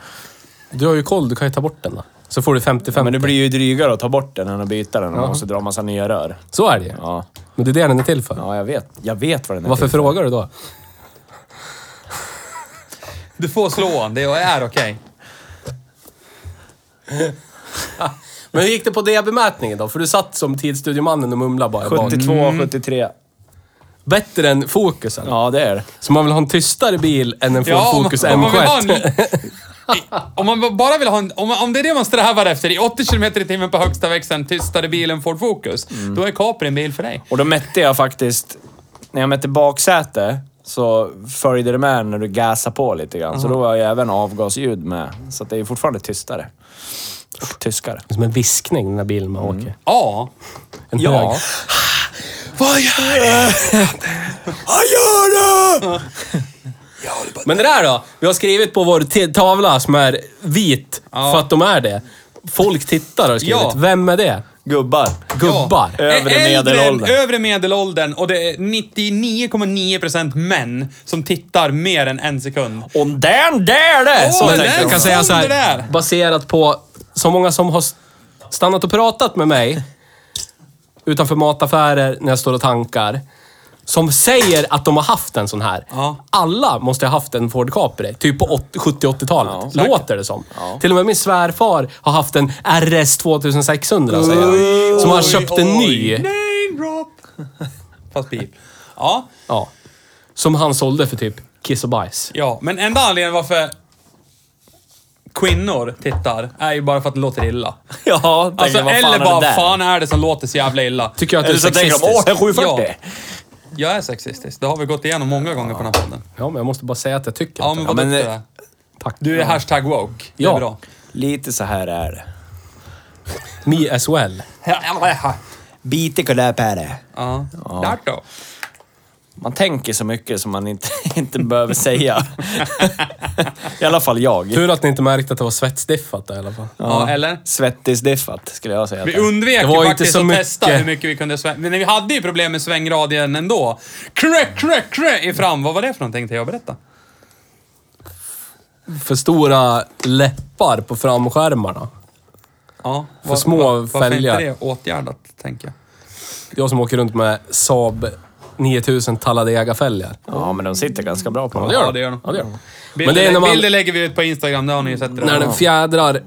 Speaker 3: Du har ju koll, du kan ju ta bort den då. Så får du 55.
Speaker 1: Men det blir ju drygare att ta bort den än att byta den och man måste dra massa nya rör.
Speaker 3: Så är det ju.
Speaker 1: Ja,
Speaker 3: Men det är det den är till för.
Speaker 1: ja jag, vet. jag vet vad den är
Speaker 3: Varför
Speaker 1: till för.
Speaker 3: frågar du då?
Speaker 2: Du får slå han, det är okej.
Speaker 3: Men hur gick det på DB-mätningen då? För du satt som tidsstudiomannen och mumlade bara. bak.
Speaker 1: 72, 73.
Speaker 3: Bättre än fokusen.
Speaker 1: Ja, det är det.
Speaker 3: Så man vill ha en tystare bil än en Ford
Speaker 2: Ja, om,
Speaker 3: Focus
Speaker 2: om man vill ha en,
Speaker 3: M7.
Speaker 2: i- om man bara vill ha en, om, om det är det man strävar efter i 80 km i timmen på högsta växeln, tystare bilen Ford Focus. Då är Capri en bil för dig.
Speaker 1: Och då mätte jag faktiskt... När jag mätte baksäte så följde det med när du gasade på lite grann. Så då var ju även avgasljud med. Så att det är ju fortfarande tystare. Och Tyskare.
Speaker 3: Som en viskning den där bilen man åker.
Speaker 2: Ja.
Speaker 3: En
Speaker 1: Ja.
Speaker 3: hög.
Speaker 2: Vad gör du?
Speaker 3: Vad gör du? Men det där då? Vi har skrivit på vår te- tavla som är vit för att de är det. Folk tittar har skrivit.
Speaker 2: Ja. Eh,
Speaker 3: Vem är det?
Speaker 1: Gubbar.
Speaker 3: Gubbar.
Speaker 1: Ja. Övre
Speaker 2: Äldre-
Speaker 1: medelåldern.
Speaker 2: Övre medelåldern och det är 99,9% män som tittar mer än en sekund.
Speaker 1: Och den där det!
Speaker 2: Åh,
Speaker 1: jag
Speaker 2: den
Speaker 1: tänkte.
Speaker 3: Jag kan säga så
Speaker 2: kom det där.
Speaker 3: här, baserat på så många som har stannat och pratat med mig utanför mataffärer när jag står och tankar. Som säger att de har haft en sån här.
Speaker 2: Ja.
Speaker 3: Alla måste ha haft en Ford Capri, typ på 80 70-80-talet. Låter det som. Till och med min svärfar har haft en RS 2600, säger han. Som han
Speaker 2: Oj,
Speaker 3: köpte en
Speaker 2: oj.
Speaker 3: ny.
Speaker 2: Name drop! Fast bil. Ja,
Speaker 3: Ja. Som han sålde för typ kiss och bajs.
Speaker 2: ja, men enda anledningen varför kvinnor tittar är ju bara för att det låter illa.
Speaker 1: Ja, tänker,
Speaker 2: Alltså,
Speaker 1: vad fan
Speaker 2: eller
Speaker 1: är
Speaker 2: bara,
Speaker 1: det där?
Speaker 2: fan är det som låter så jävla illa?
Speaker 3: Tycker jag att
Speaker 1: Eller
Speaker 3: du är
Speaker 1: så tänker
Speaker 3: sexistisk.
Speaker 1: de, åh, det är 740!
Speaker 2: Ja. Jag är sexistisk, det har vi gått igenom många gånger på den här podden.
Speaker 3: Ja, men jag måste bara säga att jag tycker
Speaker 2: Ja,
Speaker 3: inte
Speaker 2: men
Speaker 3: det.
Speaker 2: vad
Speaker 1: men
Speaker 2: duktig du
Speaker 1: det-
Speaker 2: är.
Speaker 3: Tack.
Speaker 2: Du är hashtag woke. Det är
Speaker 3: eh, Ja.
Speaker 2: bra.
Speaker 1: Lite så här är det.
Speaker 3: Me as well.
Speaker 1: Bite koläpäre.
Speaker 2: Ja. Där då.
Speaker 1: Man tänker så mycket som man inte, inte behöver säga. I alla fall jag.
Speaker 3: Tur att ni inte märkte att det var svetsdiffat där, i alla fall.
Speaker 2: Ja, eller?
Speaker 1: Svettisdiffat skulle jag säga. att
Speaker 2: Vi
Speaker 1: det är.
Speaker 2: undvek
Speaker 3: Det
Speaker 2: ju
Speaker 3: var ju
Speaker 2: faktiskt
Speaker 3: inte så
Speaker 2: att
Speaker 3: mycket.
Speaker 2: testa hur mycket vi kunde svänga. Men vi hade ju problem med svängradien ändå. Krä, krä, krä i fram. Vad var det för någonting? Jag berätta.
Speaker 3: För stora läppar på framskärmarna.
Speaker 2: Ja,
Speaker 3: För små
Speaker 2: Varför är inte
Speaker 3: fälgar.
Speaker 2: det åtgärdat, tänker jag?
Speaker 3: Jag som åker runt med Saab 9000 Talladega-fälgar.
Speaker 1: Ja, men de sitter ganska bra på
Speaker 3: Ja,
Speaker 1: dem.
Speaker 2: det gör de.
Speaker 3: Ja, det gör de.
Speaker 2: Bilder,
Speaker 3: Men det är när man...
Speaker 2: bilder lägger vi ut på Instagram, det har ni ju sett.
Speaker 3: När
Speaker 2: redan.
Speaker 3: den fjädrar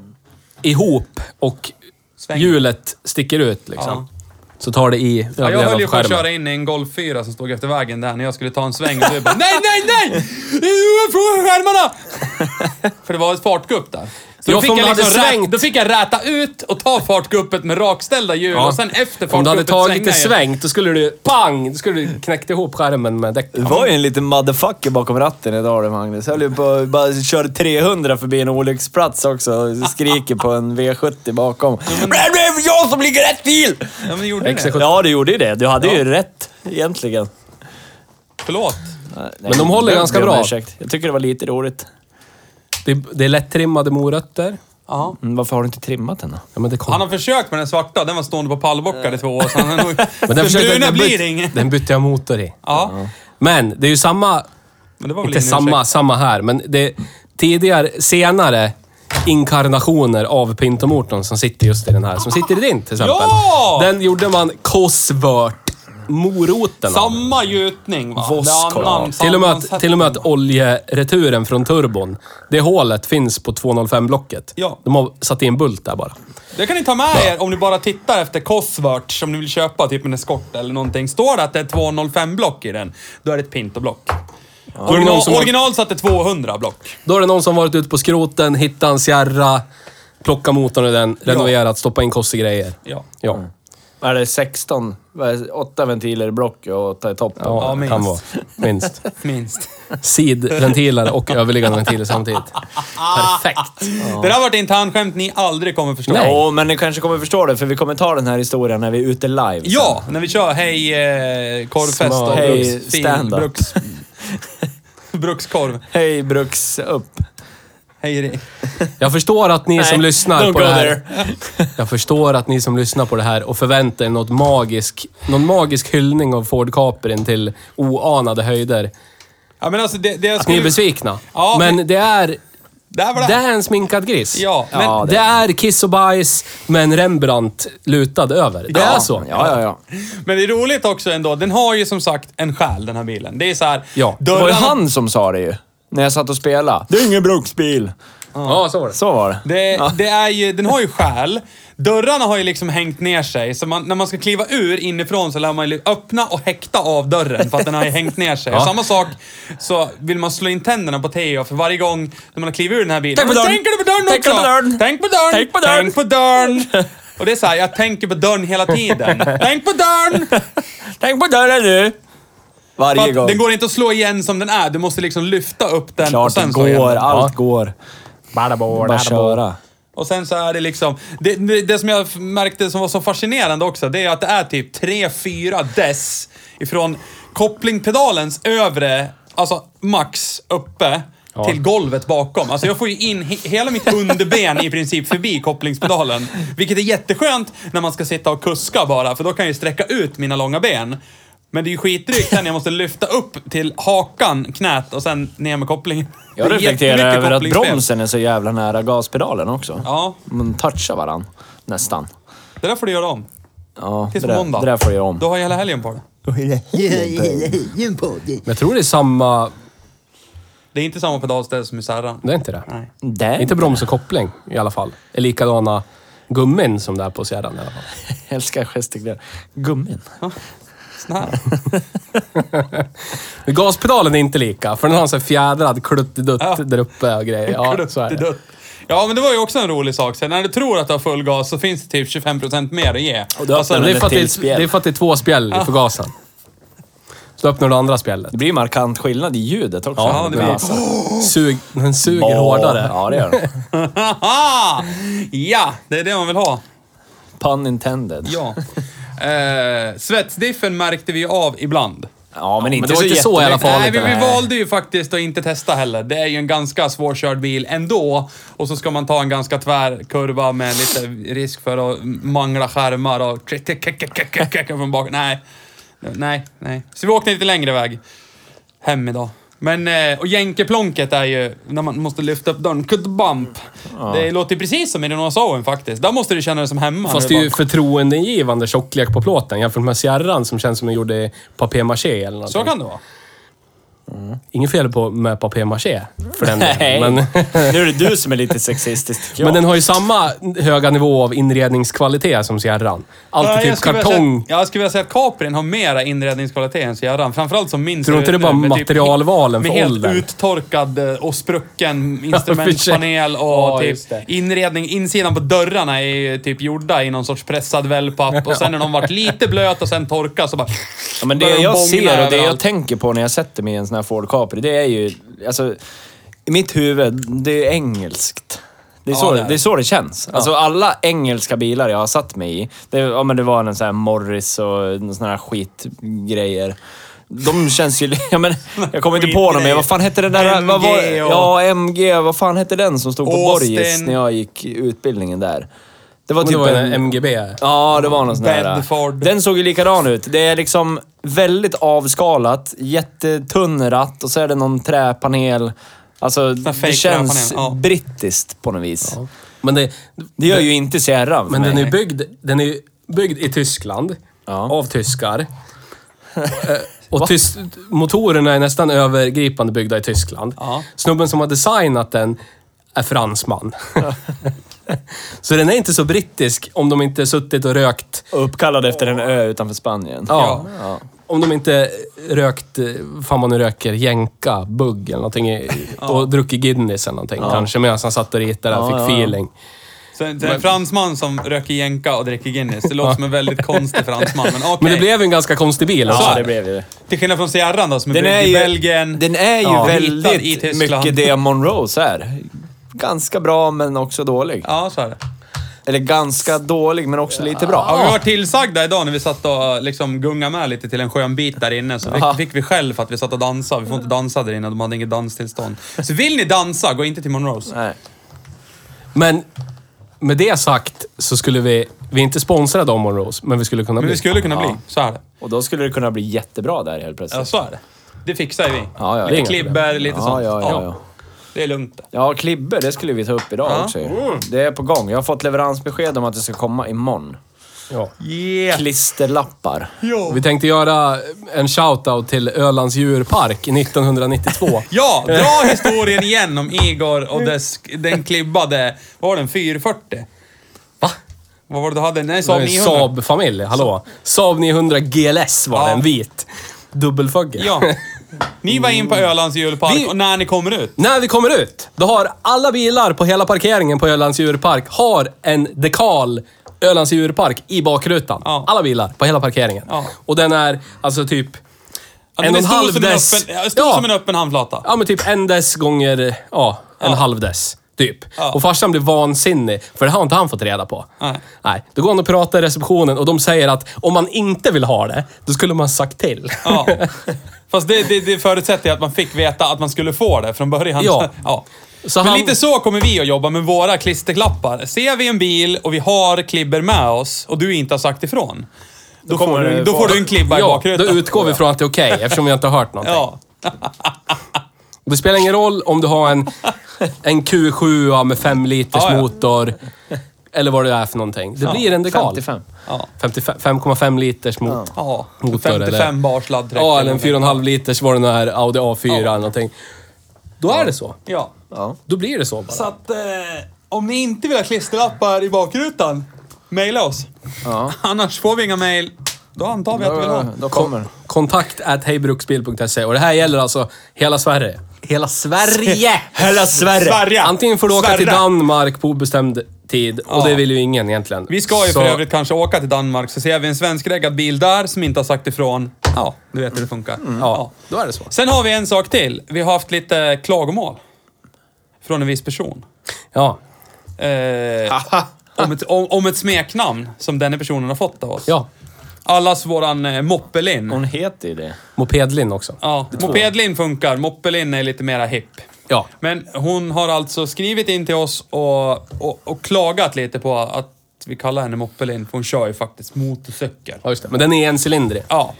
Speaker 3: ihop och
Speaker 2: Svänger.
Speaker 3: hjulet sticker ut liksom. Så tar det i
Speaker 2: Ja, jag
Speaker 3: överlevan
Speaker 2: höll ju
Speaker 3: på
Speaker 2: på att
Speaker 3: skärmen.
Speaker 2: köra in i en golffyra som stod efter vägen där när jag skulle ta en sväng och du bara Nej, nej, nej! Från skärmarna! För det var ett fartgupp där. Så
Speaker 3: Ja,
Speaker 2: då
Speaker 3: för
Speaker 2: fick,
Speaker 3: om
Speaker 2: jag
Speaker 3: du hade
Speaker 2: liksom rät,
Speaker 3: svängt-
Speaker 2: då fick jag räta ut och ta fartguppet med rakställda hjul
Speaker 3: Ja.
Speaker 2: och sen efter fartguppet
Speaker 3: Om du hade tagit
Speaker 2: svänga
Speaker 3: lite
Speaker 2: igen.
Speaker 3: svängt, då skulle du pang! Då skulle du knäckt ihop skärmen med däcken.
Speaker 1: Det var ju en liten motherfucker bakom ratten idag det Magnus. Jag höll ju på bara körde 300 förbi en olycksplats också och skriker på en V70 bakom. Men det är jag som ligger rätt till!
Speaker 2: Ja, men gjorde det.
Speaker 3: Exekution.
Speaker 1: Ja, du gjorde ju det. Du hade ju rätt egentligen.
Speaker 2: Förlåt.
Speaker 1: Nej,
Speaker 3: de håller
Speaker 1: jag
Speaker 3: ganska
Speaker 1: ber om
Speaker 3: bra.
Speaker 1: ursäkt. Jag tycker det var lite roligt.
Speaker 3: Det, det är lättrimmade morötter.
Speaker 2: Ja.
Speaker 1: Mm, varför har du inte trimmat den då?
Speaker 3: Ja, men det
Speaker 2: Han
Speaker 3: kom.
Speaker 2: har försökt med den svarta, den var stående på pallbockar i två år. Så han är nog...
Speaker 3: Men
Speaker 2: den
Speaker 3: försökte-
Speaker 2: bruna
Speaker 3: byt-
Speaker 2: blir det inget.
Speaker 3: Den bytte jag motor i.
Speaker 2: Ja,
Speaker 3: Men det är ju samma
Speaker 2: men det var väl
Speaker 3: Inte
Speaker 2: ingen
Speaker 3: samma,
Speaker 2: ursäkt.
Speaker 3: samma här, men det tidigare, senare inkarnationer av Pinto-motorn som sitter just i den här. Som sitter i din till exempel.
Speaker 2: Ja!
Speaker 3: Den gjorde man kosvört moroten av.
Speaker 2: Samma gjutning va?
Speaker 1: Voskor.
Speaker 2: Det är annan-
Speaker 3: Till och, med att,
Speaker 2: sammansättning.
Speaker 3: till och med att oljereturen från turbon, det hålet finns på 205-blocket.
Speaker 2: Ja.
Speaker 3: De har satt i en bult där bara.
Speaker 2: Det kan ni ta med er om ni bara tittar efter Cosworth som ni vill köpa, typ en eskort eller någonting. Står det att det är 205-block i den, då är det ett Pinto-block.
Speaker 3: Då, är det någon
Speaker 2: Original,
Speaker 3: som har,
Speaker 2: original satte 200-block.
Speaker 3: då är det någon som varit ute på skroten, hittat en Sierra, plockat motorn ur den, renoverat, stoppat in kossegrejer.
Speaker 2: Ja.
Speaker 3: Ja.
Speaker 1: Är det 16? vad är det, åtta ventiler i block och åtta i toppen?
Speaker 3: Ja,
Speaker 2: minst.
Speaker 3: kan vara. Minst.
Speaker 2: Minst.
Speaker 3: sidventiler och överliggande ventiler samtidigt. Perfekt.
Speaker 2: Det där var ett internskämt ni aldrig kommer förstå.
Speaker 3: Nej.
Speaker 1: Åh, men ni kanske kommer förstå det, för vi kommer ta den här historien när vi är ute live. sen.
Speaker 2: Ja, när vi kör hej eh, korvfest
Speaker 1: Smör.
Speaker 2: och
Speaker 1: Hej,
Speaker 2: bruks, fin,
Speaker 1: stand-up.
Speaker 2: bruks, brukskorv.
Speaker 1: Hej, Bruks upp.
Speaker 2: Hej Ri.
Speaker 3: Jag förstår att ni som lyssnar
Speaker 1: don't
Speaker 3: på
Speaker 1: go
Speaker 3: det här...
Speaker 1: there.
Speaker 3: Jag förstår att ni som lyssnar på det här och förväntar er något magisk, någon magisk hyllning av Ford Caprin till oanade höjder.
Speaker 2: Ja men alltså det, det jag
Speaker 3: Ni är
Speaker 2: skulle...
Speaker 3: besvikna.
Speaker 2: Ja,
Speaker 3: men det är...
Speaker 2: Där var
Speaker 3: Det
Speaker 2: det.
Speaker 3: är en sminkad gris.
Speaker 2: Ja, men
Speaker 1: Ja,
Speaker 3: det är kiss och bajs med en Rembrandt lutad över. Det är så.
Speaker 1: Ja, ja, ja.
Speaker 2: Men det är roligt också ändå, den har ju som sagt en själ den här bilen. Det är så här,
Speaker 3: Ja.
Speaker 1: Det var ju
Speaker 2: dörrarna-
Speaker 1: han som sa det ju. När jag satt och spelade. Det är ingen bruksbil.
Speaker 3: Ja, så var det.
Speaker 1: Så var det.
Speaker 2: Det, det är ju, den har ju själ. Dörrarna har ju liksom hängt ner sig, så man, när man ska kliva ur inifrån så lär man ju öppna och häkta av dörren för att den har ju hängt ner sig. Och samma sak så vill man slå in tänderna på Teo för varje gång när man har klivit ur den här bilen.
Speaker 1: Tänk på
Speaker 2: Men
Speaker 1: dörren!
Speaker 2: Tänker du på dörren
Speaker 1: Tänk
Speaker 2: också?
Speaker 1: på dörren!
Speaker 2: Tänk på dörren!
Speaker 1: Tänk på dörren!
Speaker 2: Tänk på dörren! Och det är såhär, jag tänker på dörren hela tiden. Tänk på dörren!
Speaker 1: Tänk på dörren nu!
Speaker 2: För
Speaker 1: Varje
Speaker 2: att
Speaker 1: gång.
Speaker 2: Den går inte att slå igen som den är. Du måste liksom lyfta upp den och
Speaker 1: Klart
Speaker 2: sen
Speaker 1: det
Speaker 2: slå igen
Speaker 1: går.
Speaker 2: den.
Speaker 1: Allt går. Bara köra.
Speaker 2: Och sen så är det liksom, det, det, det som jag f- märkte som var så fascinerande också, det är att det är typ 3-4 dess ifrån kopplingpedalens övre, alltså max uppe, till golvet bakom. Alltså jag får ju in he- hela mitt underben i princip förbi kopplingspedalen. Vilket är jätteskönt när man ska sitta och kuska bara, för då kan jag ju sträcka ut mina långa ben. Men det är ju skitdrygt sen jag måste lyfta upp till hakan, knät och sen ner med kopplingen.
Speaker 1: Jag
Speaker 2: Det är
Speaker 1: reflekterar
Speaker 2: jättemycket
Speaker 1: över att
Speaker 2: kopplingsspel.
Speaker 1: bromsen är så jävla nära gaspedalen också.
Speaker 2: Ja,
Speaker 1: Man touchar varann. Nästan.
Speaker 2: det där får du göra om.
Speaker 1: Ja,
Speaker 2: Tills
Speaker 1: det, där,
Speaker 2: måndag.
Speaker 1: det där får jag om.
Speaker 2: Du har hela helgen på det.
Speaker 3: Men jag tror det är samma...
Speaker 2: Det är inte samma pedalställ som i Särran.
Speaker 3: Det är inte det.
Speaker 2: Nej.
Speaker 1: Där.
Speaker 3: Inte broms och koppling i alla fall. Det är likadana gummin som det är på Sierran i alla fall.
Speaker 1: Jag älskar gestikulera. Gummin.
Speaker 2: Snarare.
Speaker 3: Men Gaspedalen är inte lika, för den har en sån här fjädrad kluttidutt
Speaker 2: Ja.
Speaker 3: där uppe och grejer. Ja, så är det.
Speaker 2: Ja, men det var ju också en rolig sak. Sen när du tror att du har full gas så finns det typ 25% mer att ge. Alltså,
Speaker 1: du har
Speaker 2: Och sen-
Speaker 3: Men det, är
Speaker 1: Med
Speaker 3: för att det,
Speaker 1: till spjäll.
Speaker 3: är, det är för att det är två spjäll i förgasaren. Så öppnar du andra spjället.
Speaker 1: Det blir markant skillnad i ljudet också.
Speaker 2: Ja, det blir-
Speaker 1: Alltså,
Speaker 3: Sug, den suger
Speaker 1: Åh,
Speaker 3: hårdare.
Speaker 1: Ja, det gör den.
Speaker 2: Haha! ja, det är det man vill ha.
Speaker 1: Pun intended.
Speaker 2: Ja. Eh, svetsdiffen märkte vi av ibland.
Speaker 1: Ja, men inte
Speaker 3: det var
Speaker 1: så
Speaker 3: inte så i alla
Speaker 1: jättemycket.
Speaker 3: fall.
Speaker 2: Nej,
Speaker 3: lite
Speaker 2: men vi
Speaker 3: det
Speaker 2: valde ju faktiskt att inte testa heller. Det är ju en ganska svårkörd bil ändå. Och så ska man ta en ganska tvär kurva med lite risk för att mangla skärmar och klick, klick, klick, klick, klick, klick från bak. Nej. Nej, nej. Så vi åkte lite längre väg hem idag. Men, eh, och jänkeplonket är ju när man måste lyfta upp dörren. Cut bump. Det låter precis som i Renault faktiskt. Där måste du känna dig som hemma.
Speaker 3: Fast det är ju förtroendeingivande tjocklek på plåten jämfört med Sierran som känns som den gjorde i papier-maché eller någonting.
Speaker 2: Så kan det vara.
Speaker 3: Inget fel på med papier-maché för den
Speaker 5: Nej.
Speaker 3: delen. Men,
Speaker 5: Nu är det du som är lite sexistisk tycker jag.
Speaker 3: men den har ju samma höga nivå av inredningskvalitet som Sierran. Alltid typ kartong.
Speaker 2: Jag skulle vilja säga att Caprin har mera inredningskvalitet än Sierran. Framförallt som min
Speaker 3: Tror
Speaker 2: ser
Speaker 3: du inte det
Speaker 2: ut
Speaker 3: är bara
Speaker 2: nu, med typ-
Speaker 3: materialvalen
Speaker 2: Med
Speaker 3: för
Speaker 2: helt
Speaker 3: åldern?
Speaker 2: uttorkad eh, och sprucken
Speaker 3: sig.
Speaker 2: instrumentpanel och
Speaker 3: Ja,
Speaker 2: typ
Speaker 3: just det.
Speaker 2: inredning. Insidan på dörrarna är ju typ gjorda i någon sorts pressad wellpapp och sen när de varit lite blöt och sen torka så bara...
Speaker 1: Ja, men det
Speaker 2: börjar de
Speaker 1: jag
Speaker 2: bångla
Speaker 1: ser och det jag
Speaker 2: överallt.
Speaker 1: tänker på när jag sätter mig i en sån här Ford Capri, det är ju... Alltså, i mitt huvud, det är engelskt. Det är, så,
Speaker 2: det
Speaker 1: det
Speaker 2: är
Speaker 1: är. så det känns. Alltså alla engelska bilar jag har satt mig i, det, ja, men det var en sån här Morris och någon sån här skitgrejer. De känns ju... Ja, men, jag kommer inte på dem, men vad fan hette den där... Vad var,
Speaker 2: MG och-
Speaker 1: ja, MG. Vad fan hette den som stod på
Speaker 2: Austin.
Speaker 1: Borgis när jag gick utbildningen där? Det var
Speaker 3: Men
Speaker 1: typ
Speaker 3: det var ju
Speaker 1: en
Speaker 3: en MGB.
Speaker 1: Ja, det var någon sån
Speaker 2: Bedford.
Speaker 1: där. äh. Den såg ju likadan ut. Det är liksom väldigt avskalat, jättetunn ratt och så är det någon träpanel. Alltså, det
Speaker 2: fake
Speaker 1: känns
Speaker 2: träpanel, ja.
Speaker 1: brittiskt på något vis.
Speaker 3: Men det,
Speaker 1: Det gör ju inte Sierra för
Speaker 3: Men
Speaker 1: mig.
Speaker 3: den är ju byggd, den är ju byggd i Tyskland.
Speaker 1: Ja.
Speaker 3: Av tyskar. Eh, Och tys motorerna är nästan övergripande byggda i Tyskland.
Speaker 2: Ja.
Speaker 3: Snubben som har designat den är fransman. så den är inte så brittisk om de inte suttit och rökt...
Speaker 1: Uppkallad efter en ö utanför Spanien.
Speaker 3: Ja. Om de inte rökt, eh, fan man nu röker, jänka, bugg eller någonting. i- Och druckit Guinness eller någonting kanske medan han satt och ritade och
Speaker 1: Ja,
Speaker 3: fick
Speaker 1: ja.
Speaker 3: feeling.
Speaker 2: Så en, så en fransman som röker jänka och dricker Guinness. Det låter som en väldigt konstig fransman, men okej.
Speaker 3: Men det blev ju en ganska konstig bil. alltså.
Speaker 1: Ja,
Speaker 3: också.
Speaker 1: det blev ju det.
Speaker 2: Till skillnad från Sierran då, som är
Speaker 1: Den
Speaker 2: byggd
Speaker 1: är
Speaker 2: i
Speaker 1: ju,
Speaker 2: Belgien.
Speaker 1: den är ju
Speaker 2: Ja. Ritad i
Speaker 1: väldigt
Speaker 2: Tyskland.
Speaker 1: mycket det Monroes är. Ganska bra, men också dålig.
Speaker 2: Ja, så är det.
Speaker 1: Eller ganska dålig, men också lite bra.
Speaker 2: Ja, vi var tillsagda idag när vi satt och liksom gungade med lite till en skön bit där inne. Så fick, fick vi skäll för att vi satt och dansade. Vi får inte dansa där inne, de hade inget danstillstånd. Så vill ni dansa, gå inte till Monroes.
Speaker 1: Nej.
Speaker 3: Men med det sagt så skulle vi... Vi är inte sponsrade av Monrose, men vi skulle kunna
Speaker 2: Men
Speaker 3: bli.
Speaker 2: vi skulle kunna bli,
Speaker 1: Ja.
Speaker 2: så är det.
Speaker 1: Och då skulle det kunna bli jättebra där helt
Speaker 2: Ja,
Speaker 1: plötsligt.
Speaker 2: så är det. Det fixar vi.
Speaker 1: Ja, ja,
Speaker 2: lite
Speaker 1: ja.
Speaker 2: klibber, lite
Speaker 1: Ja,
Speaker 2: sånt.
Speaker 1: ja, ja, ja.
Speaker 2: Det är lugnt.
Speaker 1: Ja, klibber, det skulle vi ta upp idag
Speaker 2: Ja. Mm.
Speaker 1: också ju. Det är på gång. Jag har fått leveransbesked om att det ska komma imorgon.
Speaker 3: Ja.
Speaker 2: Yeah!
Speaker 1: Klisterlappar.
Speaker 2: Ja,
Speaker 3: Vi tänkte göra en shout-out till Ölands djurpark 1992.
Speaker 2: ja dra historien igen om Igor och dess, den klibbade... Vad var den? 440?
Speaker 3: Va?
Speaker 2: Vad var det du hade? Nej,
Speaker 3: Det var
Speaker 2: Saab
Speaker 3: en
Speaker 2: 900?
Speaker 3: Saab-familj, hallå? Saab 900 GLS var
Speaker 2: Ja.
Speaker 3: den, vit. Dubbelfugge.
Speaker 2: Ja. Ni var in på Ölands julpark
Speaker 3: Vi-
Speaker 2: och när ni kommer ut.
Speaker 3: När vi kommer ut, då har alla bilar på hela parkeringen på Ölands djurpark har en dekal Ölands djurpark i bakrutan.
Speaker 2: Ja.
Speaker 3: Alla bilar på hela parkeringen.
Speaker 2: Ja.
Speaker 3: Och den är alltså typ
Speaker 2: Ja, den
Speaker 3: en och en
Speaker 2: är stor
Speaker 3: halv
Speaker 2: som en
Speaker 3: dess.
Speaker 2: öppen- ja, Stor som en öppen handflata.
Speaker 3: Ja, men typ en dess gånger ja, en halv dess. Typ.
Speaker 2: Ja.
Speaker 3: Och farsan blir vansinnig, för det har inte han fått reda på.
Speaker 2: Nej.
Speaker 3: Nej. Då går han och pratar i receptionen och de säger att om man inte vill ha det, då skulle man sagt till.
Speaker 2: Ja. Fast det, det, det förutsätter ju att man fick veta att man skulle få det från början.
Speaker 3: Ja. Så
Speaker 2: Men
Speaker 3: han-
Speaker 2: lite så kommer vi att jobba med våra klisterklappar. Ser vi en bil och vi har klibber med oss och du inte har sagt ifrån. Då, får,
Speaker 1: kommer
Speaker 2: du,
Speaker 1: det
Speaker 2: då
Speaker 1: få-
Speaker 2: får du en klibba i
Speaker 3: Ja, då
Speaker 2: bakrutan.
Speaker 3: utgår vi från att det är okej, eftersom vi inte har hört någonting.
Speaker 2: Ja.
Speaker 3: Det spelar ingen roll om du har en, en Q7 med 5 liters
Speaker 2: Ja, ja.
Speaker 3: motor, eller vad det är för någonting. Det blir en dekal.
Speaker 1: 55.
Speaker 2: Ja.
Speaker 3: 55 5,5 liters mot,
Speaker 2: ja.
Speaker 3: motor. eller-
Speaker 2: 55 bars laddträck.
Speaker 3: Ja, eller en 4,5 liters var den här Audi A4 eller någonting. Då är det så.
Speaker 2: Ja.
Speaker 1: Ja.
Speaker 3: Då blir det så bara.
Speaker 2: Så att eh, om ni inte vill ha klisterlappar i bakrutan, mejla oss.
Speaker 1: Ja.
Speaker 2: Annars får vi inga mejl. Då antar vi att vi vill ha.
Speaker 1: Då, då kommer
Speaker 3: Kon- Kontakt at hejbruksbil.se och det här gäller alltså hela Sverige. Hela Sverige!
Speaker 1: Hela Sverige!
Speaker 2: Sverige!
Speaker 3: Antingen får du åka till
Speaker 2: Sverige!
Speaker 3: Danmark på obestämd tid och det vill ju ingen egentligen.
Speaker 2: Vi ska ju
Speaker 3: Så-
Speaker 2: för övrigt kanske åka till Danmark, så ser vi en svenskreggad bil där som inte har sagt ifrån. Ja, du vet hur det funkar.
Speaker 3: Mm. Ja, då är det så.
Speaker 2: Sen har vi en sak till. Vi har haft lite klagomål. Från en viss person.
Speaker 3: Ja.
Speaker 2: Eh, om, ett, om, om ett smeknamn som denna personen har fått av oss.
Speaker 3: Ja.
Speaker 2: Allas våran eh, moppelin.
Speaker 1: Hon heter ju det.
Speaker 3: Mopedlin också.
Speaker 2: Ja, mopedlin funkar. Moppelin är lite mera hipp.
Speaker 3: Ja.
Speaker 2: Men hon har alltså skrivit in till oss och, och, och klagat lite på att vi kallar henne moppelin, för hon kör ju faktiskt motorcykel.
Speaker 3: Ja, just det. Men den är encylindrig.
Speaker 2: Ja.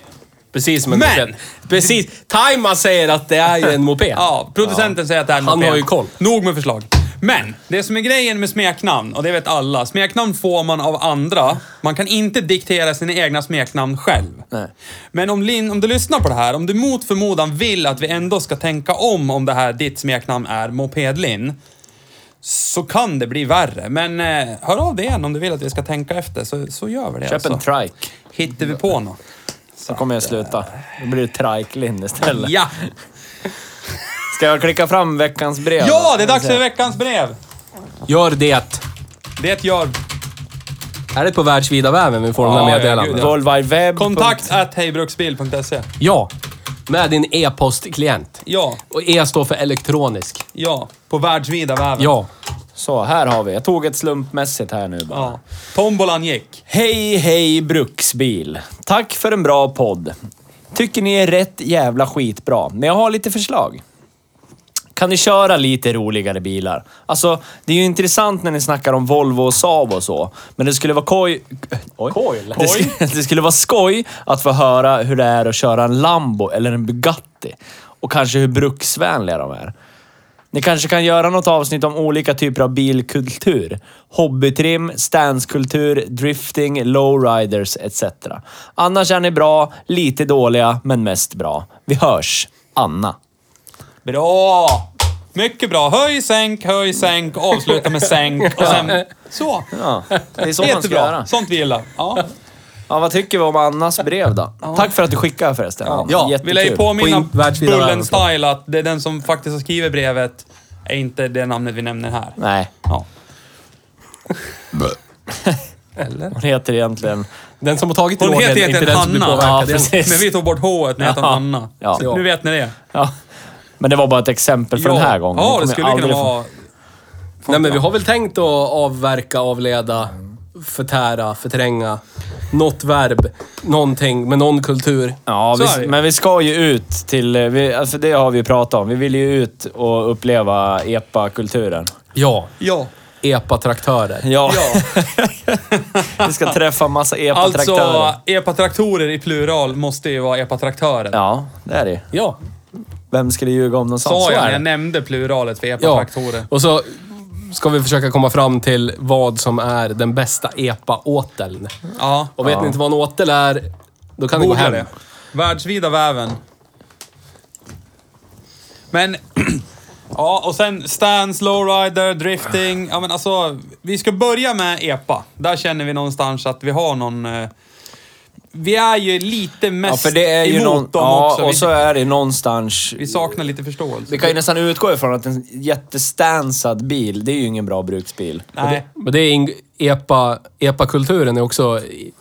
Speaker 3: Precis som en
Speaker 2: Men-
Speaker 3: moped. Precis. Taima säger att det är ju en moped.
Speaker 2: Ja, producenten säger att det är en
Speaker 3: Han
Speaker 2: moped.
Speaker 3: har ju koll.
Speaker 2: Nog med förslag. Men, det som är grejen med smeknamn, och det vet alla, smeknamn får man av andra. Man kan inte diktera sina egna smeknamn själv. Men om, Lin, om du lyssnar på det här, om du mot förmodan vill att vi ändå ska tänka om om det här ditt smeknamn är Mopedlin, så kan det bli värre. Men eh, hör av dig igen om du vill att vi ska tänka efter, så, så gör vi det.
Speaker 1: Köp en
Speaker 2: alltså.
Speaker 1: trike.
Speaker 2: Hittar vi på något.
Speaker 1: Så kommer jag sluta. Då blir det trike-Linn istället.
Speaker 2: Ja!
Speaker 1: Ska jag klicka fram veckans brev?
Speaker 2: Ja, det är dags för veckans brev!
Speaker 3: Gör det!
Speaker 2: Det gör
Speaker 3: Är det på världsvida väven vi får de
Speaker 2: Ja, ja,
Speaker 3: där meddelandena?
Speaker 2: gud,
Speaker 1: World Wide Web.
Speaker 2: kontakt at hejbruksbil.se.
Speaker 3: Ja, med din e-postklient.
Speaker 2: Ja,
Speaker 3: Och E står för elektronisk.
Speaker 2: ja. På världsvida väven.
Speaker 3: Ja.
Speaker 1: Så, här har vi. Jag tog ett slumpmässigt här nu bara.
Speaker 2: ja. Tombolan gick.
Speaker 1: Hej, hej Bruksbil. Tack för en bra podd. Tycker ni är rätt jävla skitbra, men jag har lite förslag. Kan ni köra lite roligare bilar? Alltså, det är ju intressant när ni snackar om Volvo och Saab och så, men det skulle vara koj... Oj. Det, skulle, det skulle vara skoj att få höra hur det är att köra en Lambo eller en Bugatti. Och kanske hur bruksvänliga de är. Ni kanske kan göra något avsnitt om olika typer av bilkultur. Hobbytrim, stanskultur, drifting, lowriders etc. Annars är ni bra, lite dåliga, men mest bra. Vi hörs. Anna.
Speaker 2: Bra! Mycket bra. Höj, sänk, höj, sänk, avsluta med sänk och sen... Så!
Speaker 1: Ja, det är så man ska
Speaker 2: Jättebra.
Speaker 1: göra.
Speaker 2: Sånt vi gillar. Ja.
Speaker 1: Ja, vad tycker vi om Annas brev då? Tack för att du skickade förresten. Ja,
Speaker 2: Ja, vill jag ju påminna
Speaker 3: Och in- världsvida
Speaker 2: Bullen
Speaker 3: världen.
Speaker 2: Style att det är den som faktiskt har skrivit brevet är inte det namnet vi nämner här.
Speaker 1: Nej,
Speaker 2: Ja.
Speaker 1: hon heter egentligen...
Speaker 3: Den som har tagit
Speaker 2: Hon
Speaker 3: drogen,
Speaker 2: heter
Speaker 3: inte
Speaker 2: egentligen
Speaker 3: den som blir
Speaker 2: Hanna.
Speaker 3: påverkad.
Speaker 1: Ja, precis.
Speaker 2: Men vi tog bort H när jag heter
Speaker 1: Ja.
Speaker 2: Hanna.
Speaker 1: Ja.
Speaker 2: Så Nu vet ni det.
Speaker 1: Ja. Men det var bara ett exempel för den här gången. Ni
Speaker 2: Ja,
Speaker 1: kommer
Speaker 2: det skulle
Speaker 1: aldrig
Speaker 2: kunna
Speaker 1: få-
Speaker 2: vara...
Speaker 3: Nej men vi har väl tänkt att avverka, avleda, förtära, förtränga. Något verb, någonting med någon kultur.
Speaker 1: Ja,
Speaker 2: Så är
Speaker 1: vi,
Speaker 2: det.
Speaker 1: men vi ska ju ut till... eh, Vi, alltså det har vi ju pratat om. Vi vill ju ut och uppleva EPA-kulturen.
Speaker 3: Ja,
Speaker 2: Ja.
Speaker 3: epatraktörer.
Speaker 1: Ja,
Speaker 2: ja.
Speaker 1: vi ska träffa massa EPA-traktörer.
Speaker 2: Alltså, epatraktorer i plural måste ju vara E epatraktörer.
Speaker 1: Ja, det är det ju.
Speaker 3: Ja,
Speaker 1: Vem skulle ljuga om något sånt?
Speaker 2: Sa
Speaker 1: Så
Speaker 2: jag
Speaker 1: är
Speaker 2: när
Speaker 1: det.
Speaker 2: jag nämnde pluralet för E
Speaker 3: ja.
Speaker 2: epatraktorer.
Speaker 3: Och så ska vi försöka komma fram till vad som är den bästa epa-åteln.
Speaker 2: Ja.
Speaker 3: Och vet ni inte vad en åtel är, då kan ni gå
Speaker 2: Googla
Speaker 3: hem.
Speaker 2: det. Världsvida väven. Men... Ja, och sen stance, lowrider, drifting. Ja, men alltså, vi ska börja med EPA. Där känner vi någonstans att vi har någon... eh, Vi är ju lite mest
Speaker 1: Ja, för det är ju
Speaker 2: emot
Speaker 1: någon,
Speaker 2: dem
Speaker 1: ja,
Speaker 2: också.
Speaker 1: och
Speaker 2: vi,
Speaker 1: så är det någonstans...
Speaker 2: vi saknar lite förståelse.
Speaker 1: Vi kan ju nästan utgå ifrån att en jättestansad bil, det är ju ingen bra bruksbil.
Speaker 2: Nej.
Speaker 3: Men det är in, epa, epa-kulturen är också i-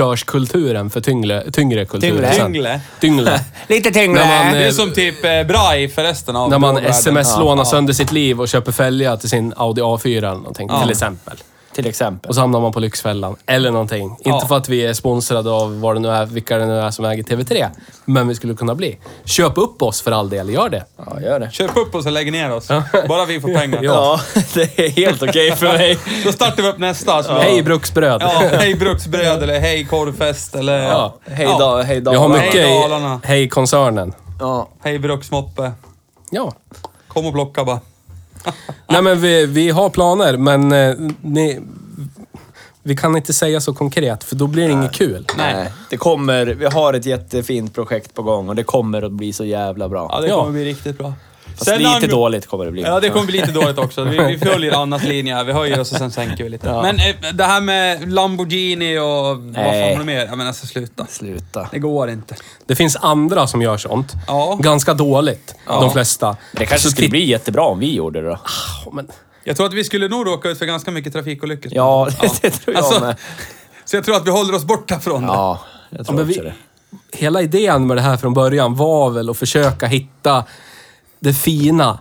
Speaker 3: inkörskulturen för tyngre, tyngre kulturer.
Speaker 1: Tyngre.
Speaker 3: sen.
Speaker 2: Tyngre.
Speaker 3: Tyngre.
Speaker 1: Lite
Speaker 3: När man,
Speaker 2: Det
Speaker 3: eh,
Speaker 2: är som typ eh, Braj förresten av
Speaker 3: När man
Speaker 2: lowrider.
Speaker 3: sms-lånar sönder sitt liv och köper fälgar till sin Audi A4 eller någonting, till exempel.
Speaker 1: Till exempel.
Speaker 3: Och så hamnar man på Lyxfällan, eller någonting. Inte för att vi är sponsrade av vad det nu är, vilka det nu är som äger TV3, men vi skulle kunna bli. Köp upp oss för all del, gör det.
Speaker 1: Ja, gör det.
Speaker 2: Köp upp oss och lägg ner oss. Bara vi får pengar.
Speaker 1: Ja, det är helt okej för mig.
Speaker 2: Då startar vi upp nästa. Så
Speaker 3: Hej Bruksbröd!
Speaker 2: Ja, hej bruksbröd eller hej korvfest eller...
Speaker 1: Ja, hej då, hej då.
Speaker 3: Jag har
Speaker 2: Dalarna.
Speaker 3: mycket i
Speaker 2: Dalarna.
Speaker 3: Hej-koncernen.
Speaker 1: Ja.
Speaker 2: Hej bruksmoppe.
Speaker 3: Ja.
Speaker 2: Kom och plocka bara.
Speaker 3: Nej men vi, vi har planer, men eh, ni, vi kan inte säga så konkret, för då blir det inget kul.
Speaker 1: Nej. Det kommer, vi har ett jättefint projekt på gång och det kommer att bli så jävla bra.
Speaker 2: Ja, det
Speaker 3: Ja.
Speaker 2: kommer bli riktigt bra.
Speaker 1: Fast lite
Speaker 2: ang-
Speaker 1: dåligt kommer det bli.
Speaker 2: Ja, det kommer bli lite dåligt också. Vi, vi följer Annas linje. här. Vi höjer oss och sen sänker vi lite. Men eh, det här med Lamborghini och vad fan
Speaker 1: Nej.
Speaker 2: var det mer? Ja, men alltså sluta.
Speaker 1: Sluta.
Speaker 2: Det går inte.
Speaker 3: Det finns andra som gör sånt.
Speaker 2: Ja.
Speaker 3: Ganska dåligt, de flesta.
Speaker 1: Det kanske
Speaker 3: Så
Speaker 1: skulle
Speaker 3: titt-
Speaker 1: bli jättebra om vi gjorde det då.
Speaker 3: Men,
Speaker 2: Jag tror att vi skulle nog råka ut för ganska mycket trafikolyckor.
Speaker 1: Ja, det, det tror jag
Speaker 2: Alltså,
Speaker 1: med.
Speaker 2: Så jag tror att vi håller oss borta från det.
Speaker 1: Ja, jag tror
Speaker 3: men
Speaker 1: också
Speaker 3: vi-
Speaker 1: det.
Speaker 3: hela idén med det här från början var väl att försöka hitta det fina.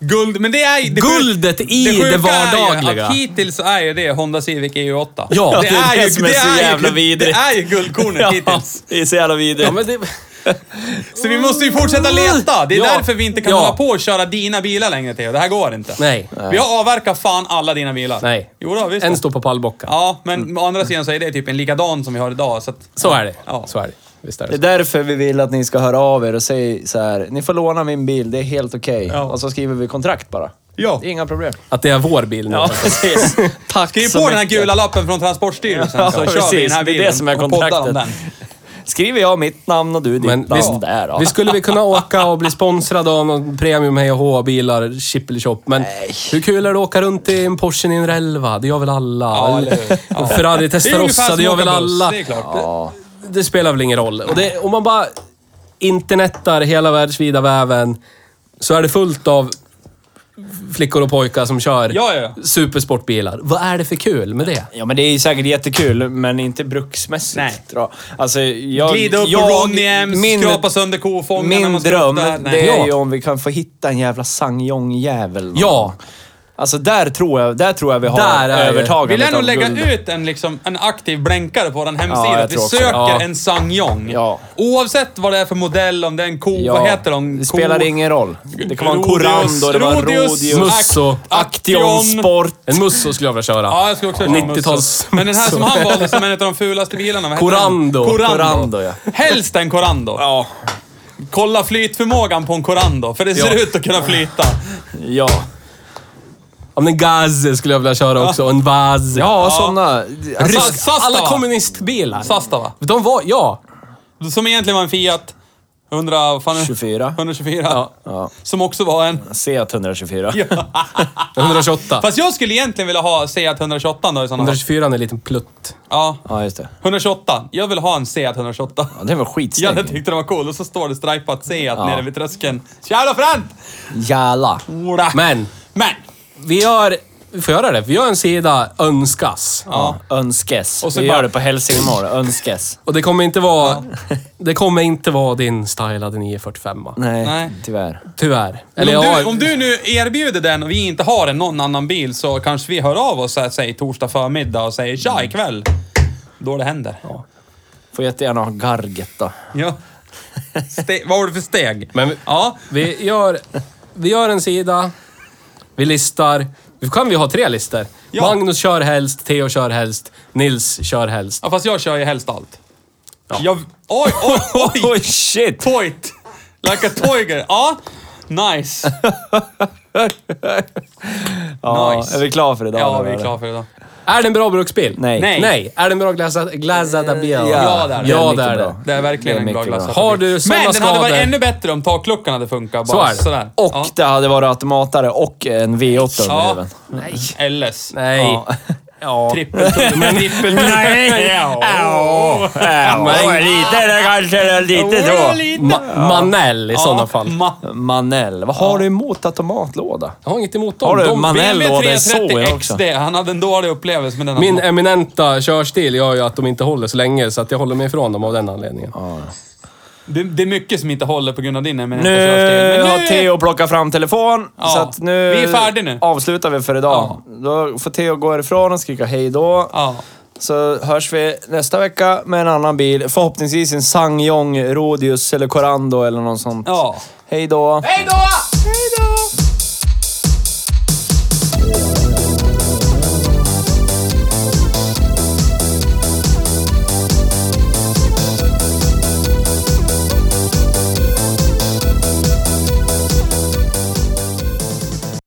Speaker 2: Guld, men det är ju- det
Speaker 3: Guldet i det
Speaker 2: sjuka är ju
Speaker 3: vardagliga.
Speaker 2: Att hittills så är ju det Honda Civic E EU8.
Speaker 3: Ja,
Speaker 1: det är det som är så
Speaker 2: ju-
Speaker 1: jävla
Speaker 2: Det
Speaker 1: vidrigt.
Speaker 2: är ju guldkornet
Speaker 1: Ja,
Speaker 2: hittills.
Speaker 1: det är så jävla vidrigt.
Speaker 3: Ja, men det,
Speaker 2: Så vi måste ju fortsätta leta. Det är
Speaker 3: Ja.
Speaker 2: därför vi inte kan
Speaker 3: Ja.
Speaker 2: hålla på och köra dina bilar längre till. Det här går inte.
Speaker 3: nej.
Speaker 2: Vi har avverkat fan alla dina bilar.
Speaker 3: Nej.
Speaker 2: Jo då, visst.
Speaker 3: En står på pallbocken.
Speaker 2: Ja, men å andra sidan så är det typ en likadan som vi har idag. Så att,
Speaker 3: Så är det.
Speaker 2: Ja.
Speaker 3: Så är det. Visst är
Speaker 1: Det är
Speaker 3: det.
Speaker 1: därför vi vill att ni ska höra av er och säga så här. ni får låna min bil, det är helt okej. Och så skriver vi kontrakt bara.
Speaker 2: Ja.
Speaker 1: Det är inga problem.
Speaker 3: Att det är vår bil nu.
Speaker 1: Ja, precis. Tack
Speaker 2: Skriv
Speaker 1: så
Speaker 2: på den här
Speaker 1: mycket.
Speaker 2: gula lappen från Transportstyrelsen
Speaker 1: Ja,
Speaker 2: så kör vi
Speaker 1: precis.
Speaker 2: den här
Speaker 1: Det är
Speaker 2: bilen.
Speaker 1: det som är
Speaker 2: och poddar om
Speaker 1: kontraktet.
Speaker 2: den.
Speaker 1: Skriver jag mitt namn och du ditt
Speaker 3: Men
Speaker 1: namn
Speaker 3: visst,
Speaker 1: där då.
Speaker 3: visst skulle vi kunna åka och bli sponsrade av någon premium Hej och Hå-bilar, chippelchop, men hur kul är det att åka runt i en Porsche 911? Det gör väl alla?
Speaker 2: Ja, eller hur?
Speaker 3: En Ferrari
Speaker 2: Det är ungefär
Speaker 3: Testarossa,
Speaker 2: som
Speaker 3: det gör väl
Speaker 2: att åka buss,
Speaker 3: alla?
Speaker 2: Det är klart.
Speaker 3: Det spelar väl ingen roll. Och det, om man bara internettar hela världsvida väven så är det fullt av flickor och pojkar som kör
Speaker 2: Ja, ja, ja.
Speaker 3: supersportbilar. Vad är det för kul med det?
Speaker 1: Ja, men det är ju säkert jättekul, men inte bruksmässigt.
Speaker 2: Nej.
Speaker 1: Då. Alltså, jag...
Speaker 2: Glida upp på
Speaker 1: jag,
Speaker 2: Ronny Ems,
Speaker 1: min,
Speaker 2: skrapa sönder kofången när
Speaker 1: Min
Speaker 2: man ska
Speaker 1: dröm,
Speaker 2: upp där. Nej.
Speaker 1: det är
Speaker 3: Ja.
Speaker 1: ju om vi kan få hitta en jävla sangjong-jävel. någon
Speaker 3: Ja.
Speaker 1: gång. Alltså, där tror jag, där tror jag vi har
Speaker 3: Där är det.
Speaker 1: övertagandet
Speaker 2: Vi lär nog
Speaker 1: av
Speaker 2: lägga
Speaker 1: guld.
Speaker 2: ut en, liksom, en aktiv blänkare på den
Speaker 1: Ja,
Speaker 2: hemsida.
Speaker 1: jag
Speaker 2: vi
Speaker 1: tror också det.
Speaker 2: söker
Speaker 1: Ja.
Speaker 2: en Sangyong.
Speaker 1: Ja.
Speaker 2: Oavsett vad det är för modell, om det är en ko,
Speaker 1: Ja,
Speaker 2: vad heter de?
Speaker 1: Det
Speaker 2: Ko-
Speaker 1: spelar ingen roll. Det kan vara en
Speaker 2: Rhodius,
Speaker 1: Corando, det var en
Speaker 2: Rhodius,
Speaker 1: Rhodius.
Speaker 3: Musso.
Speaker 1: Action Sport.
Speaker 3: En Musso skulle jag vilja köra.
Speaker 2: Ja, jag skulle också köra en Musso.
Speaker 3: 90-tals
Speaker 2: Men den här som han valde som en av de fulaste bilarna, vad heter
Speaker 3: Corando.
Speaker 2: den? Corando.
Speaker 1: Corando, ja.
Speaker 2: Helst en Corando.
Speaker 1: Ja.
Speaker 2: Kolla flytförmågan på en Corando, för det ser
Speaker 3: Ja.
Speaker 2: ut att kunna flyta.
Speaker 1: Ja,
Speaker 3: Om en Gaz skulle jag vilja köra också. En Vaz.
Speaker 1: ja, sådana.
Speaker 2: Rysk-
Speaker 3: Rysk,
Speaker 2: Sastava.
Speaker 3: alla kommunistbilar.
Speaker 2: Sastava.
Speaker 3: De var, ja.
Speaker 2: Som egentligen var en Fiat 100, vad fan är det?
Speaker 1: 24.
Speaker 2: 124. Som också var en...
Speaker 1: Seat 124.
Speaker 3: 128.
Speaker 2: Fast jag skulle egentligen vilja ha Seat 128 då i sådana fall.
Speaker 3: 124 är en liten plutt.
Speaker 2: Ja.
Speaker 1: Ja, just det.
Speaker 2: 128. Jag vill ha en Seat 128.
Speaker 1: Ja, det var
Speaker 2: Ja, jag
Speaker 1: skitsnygg.
Speaker 2: tyckte den var cool. Och så står det stripat Seat nere vid tröskeln. Så jävla fränt!
Speaker 1: Jalla.
Speaker 2: Ola.
Speaker 3: Men,
Speaker 2: Men!
Speaker 3: vi gör... Vi får göra det. Vi gör en sida, önskas.
Speaker 2: Ja.
Speaker 1: Önskes.
Speaker 2: Och så
Speaker 1: Vi
Speaker 2: bara-
Speaker 1: gör det på hälsingemål. Önskes.
Speaker 3: Och det kommer inte vara... Det kommer inte vara din stylade 945
Speaker 1: Nej,
Speaker 2: Nej.
Speaker 1: tyvärr.
Speaker 3: Tyvärr.
Speaker 2: Men om,
Speaker 3: ja,
Speaker 2: du, om du nu erbjuder den och vi inte har en någon annan bil så kanske vi hör av oss så här, säg torsdag förmiddag och säger
Speaker 3: Mm.
Speaker 2: tja ikväll. Då det händer. Ja.
Speaker 1: Får jättegärna ha garget då.
Speaker 2: Ste- vad var det för steg?
Speaker 3: Men vi-
Speaker 2: ja.
Speaker 3: Vi gör, vi gör en sida, vi listar. Vi kan vi ha tre listor?
Speaker 2: Ja.
Speaker 3: Magnus kör helst, Theo kör helst, Nils kör helst.
Speaker 2: ja, fast jag kör ju helst allt. Jag, oj, oj, oj!
Speaker 1: Oj, shit!
Speaker 2: Toit! Like a Toiger. Ja, nice.
Speaker 1: Ja,
Speaker 2: Nice.
Speaker 1: Är vi klara för idag?
Speaker 2: Ja,
Speaker 1: då,
Speaker 2: vi är
Speaker 1: eller?
Speaker 2: klara för idag.
Speaker 3: Är det en bra bruksbil?
Speaker 1: Nej.
Speaker 2: Nej.
Speaker 3: Nej. Är det en bra glasada bil?
Speaker 2: Ja, det är det.
Speaker 3: Ja,
Speaker 1: Det
Speaker 3: det
Speaker 1: är
Speaker 3: är
Speaker 1: mycket bra.
Speaker 3: det.
Speaker 2: Det är
Speaker 1: Det är
Speaker 2: verkligen en bra
Speaker 1: mycket bra.
Speaker 2: glass.
Speaker 3: Har du såna
Speaker 2: Men den hade varit
Speaker 3: skador-
Speaker 2: ännu bättre om takluckan hade funkat.
Speaker 3: Så
Speaker 2: Bara
Speaker 3: är det.
Speaker 2: sådär.
Speaker 1: Och
Speaker 2: ja.
Speaker 1: det hade varit automatare och en V8 under
Speaker 2: Ja.
Speaker 1: huven.
Speaker 2: LS.
Speaker 3: Nej.
Speaker 2: Ja.
Speaker 3: Ja.
Speaker 2: Trippel, trippel,
Speaker 1: Ja, men lite det kanske, lite
Speaker 3: Ma- Manell i sådana fall.
Speaker 2: Ma-
Speaker 1: Manell, vad har du emot automatlåda?
Speaker 3: Jag har inget emot dem.
Speaker 1: Har du man-
Speaker 3: De,
Speaker 1: Manell
Speaker 2: BMW
Speaker 1: var det så
Speaker 2: 330
Speaker 1: jag
Speaker 2: XD. Han hade en dålig upplevelse med den.
Speaker 3: min eminenta körstil gör ju att de inte håller så länge, så att jag håller mig ifrån dem av den anledningen.
Speaker 2: det, det är mycket som inte håller på grund av din eminenta
Speaker 1: Nu
Speaker 2: körstil. Men
Speaker 1: har Theo plockat fram telefon,
Speaker 2: Ja,
Speaker 1: så att nu
Speaker 2: vi är färdiga nu.
Speaker 1: avslutar vi för idag. Då får Theo gå härifrån och skrika hej då.
Speaker 2: Ja.
Speaker 1: Så hörs vi nästa vecka med en annan bil. Förhoppningsvis en Sangyong, Rodius eller Corando eller något sånt.
Speaker 2: Ja.
Speaker 1: Hej då!
Speaker 2: Hej då!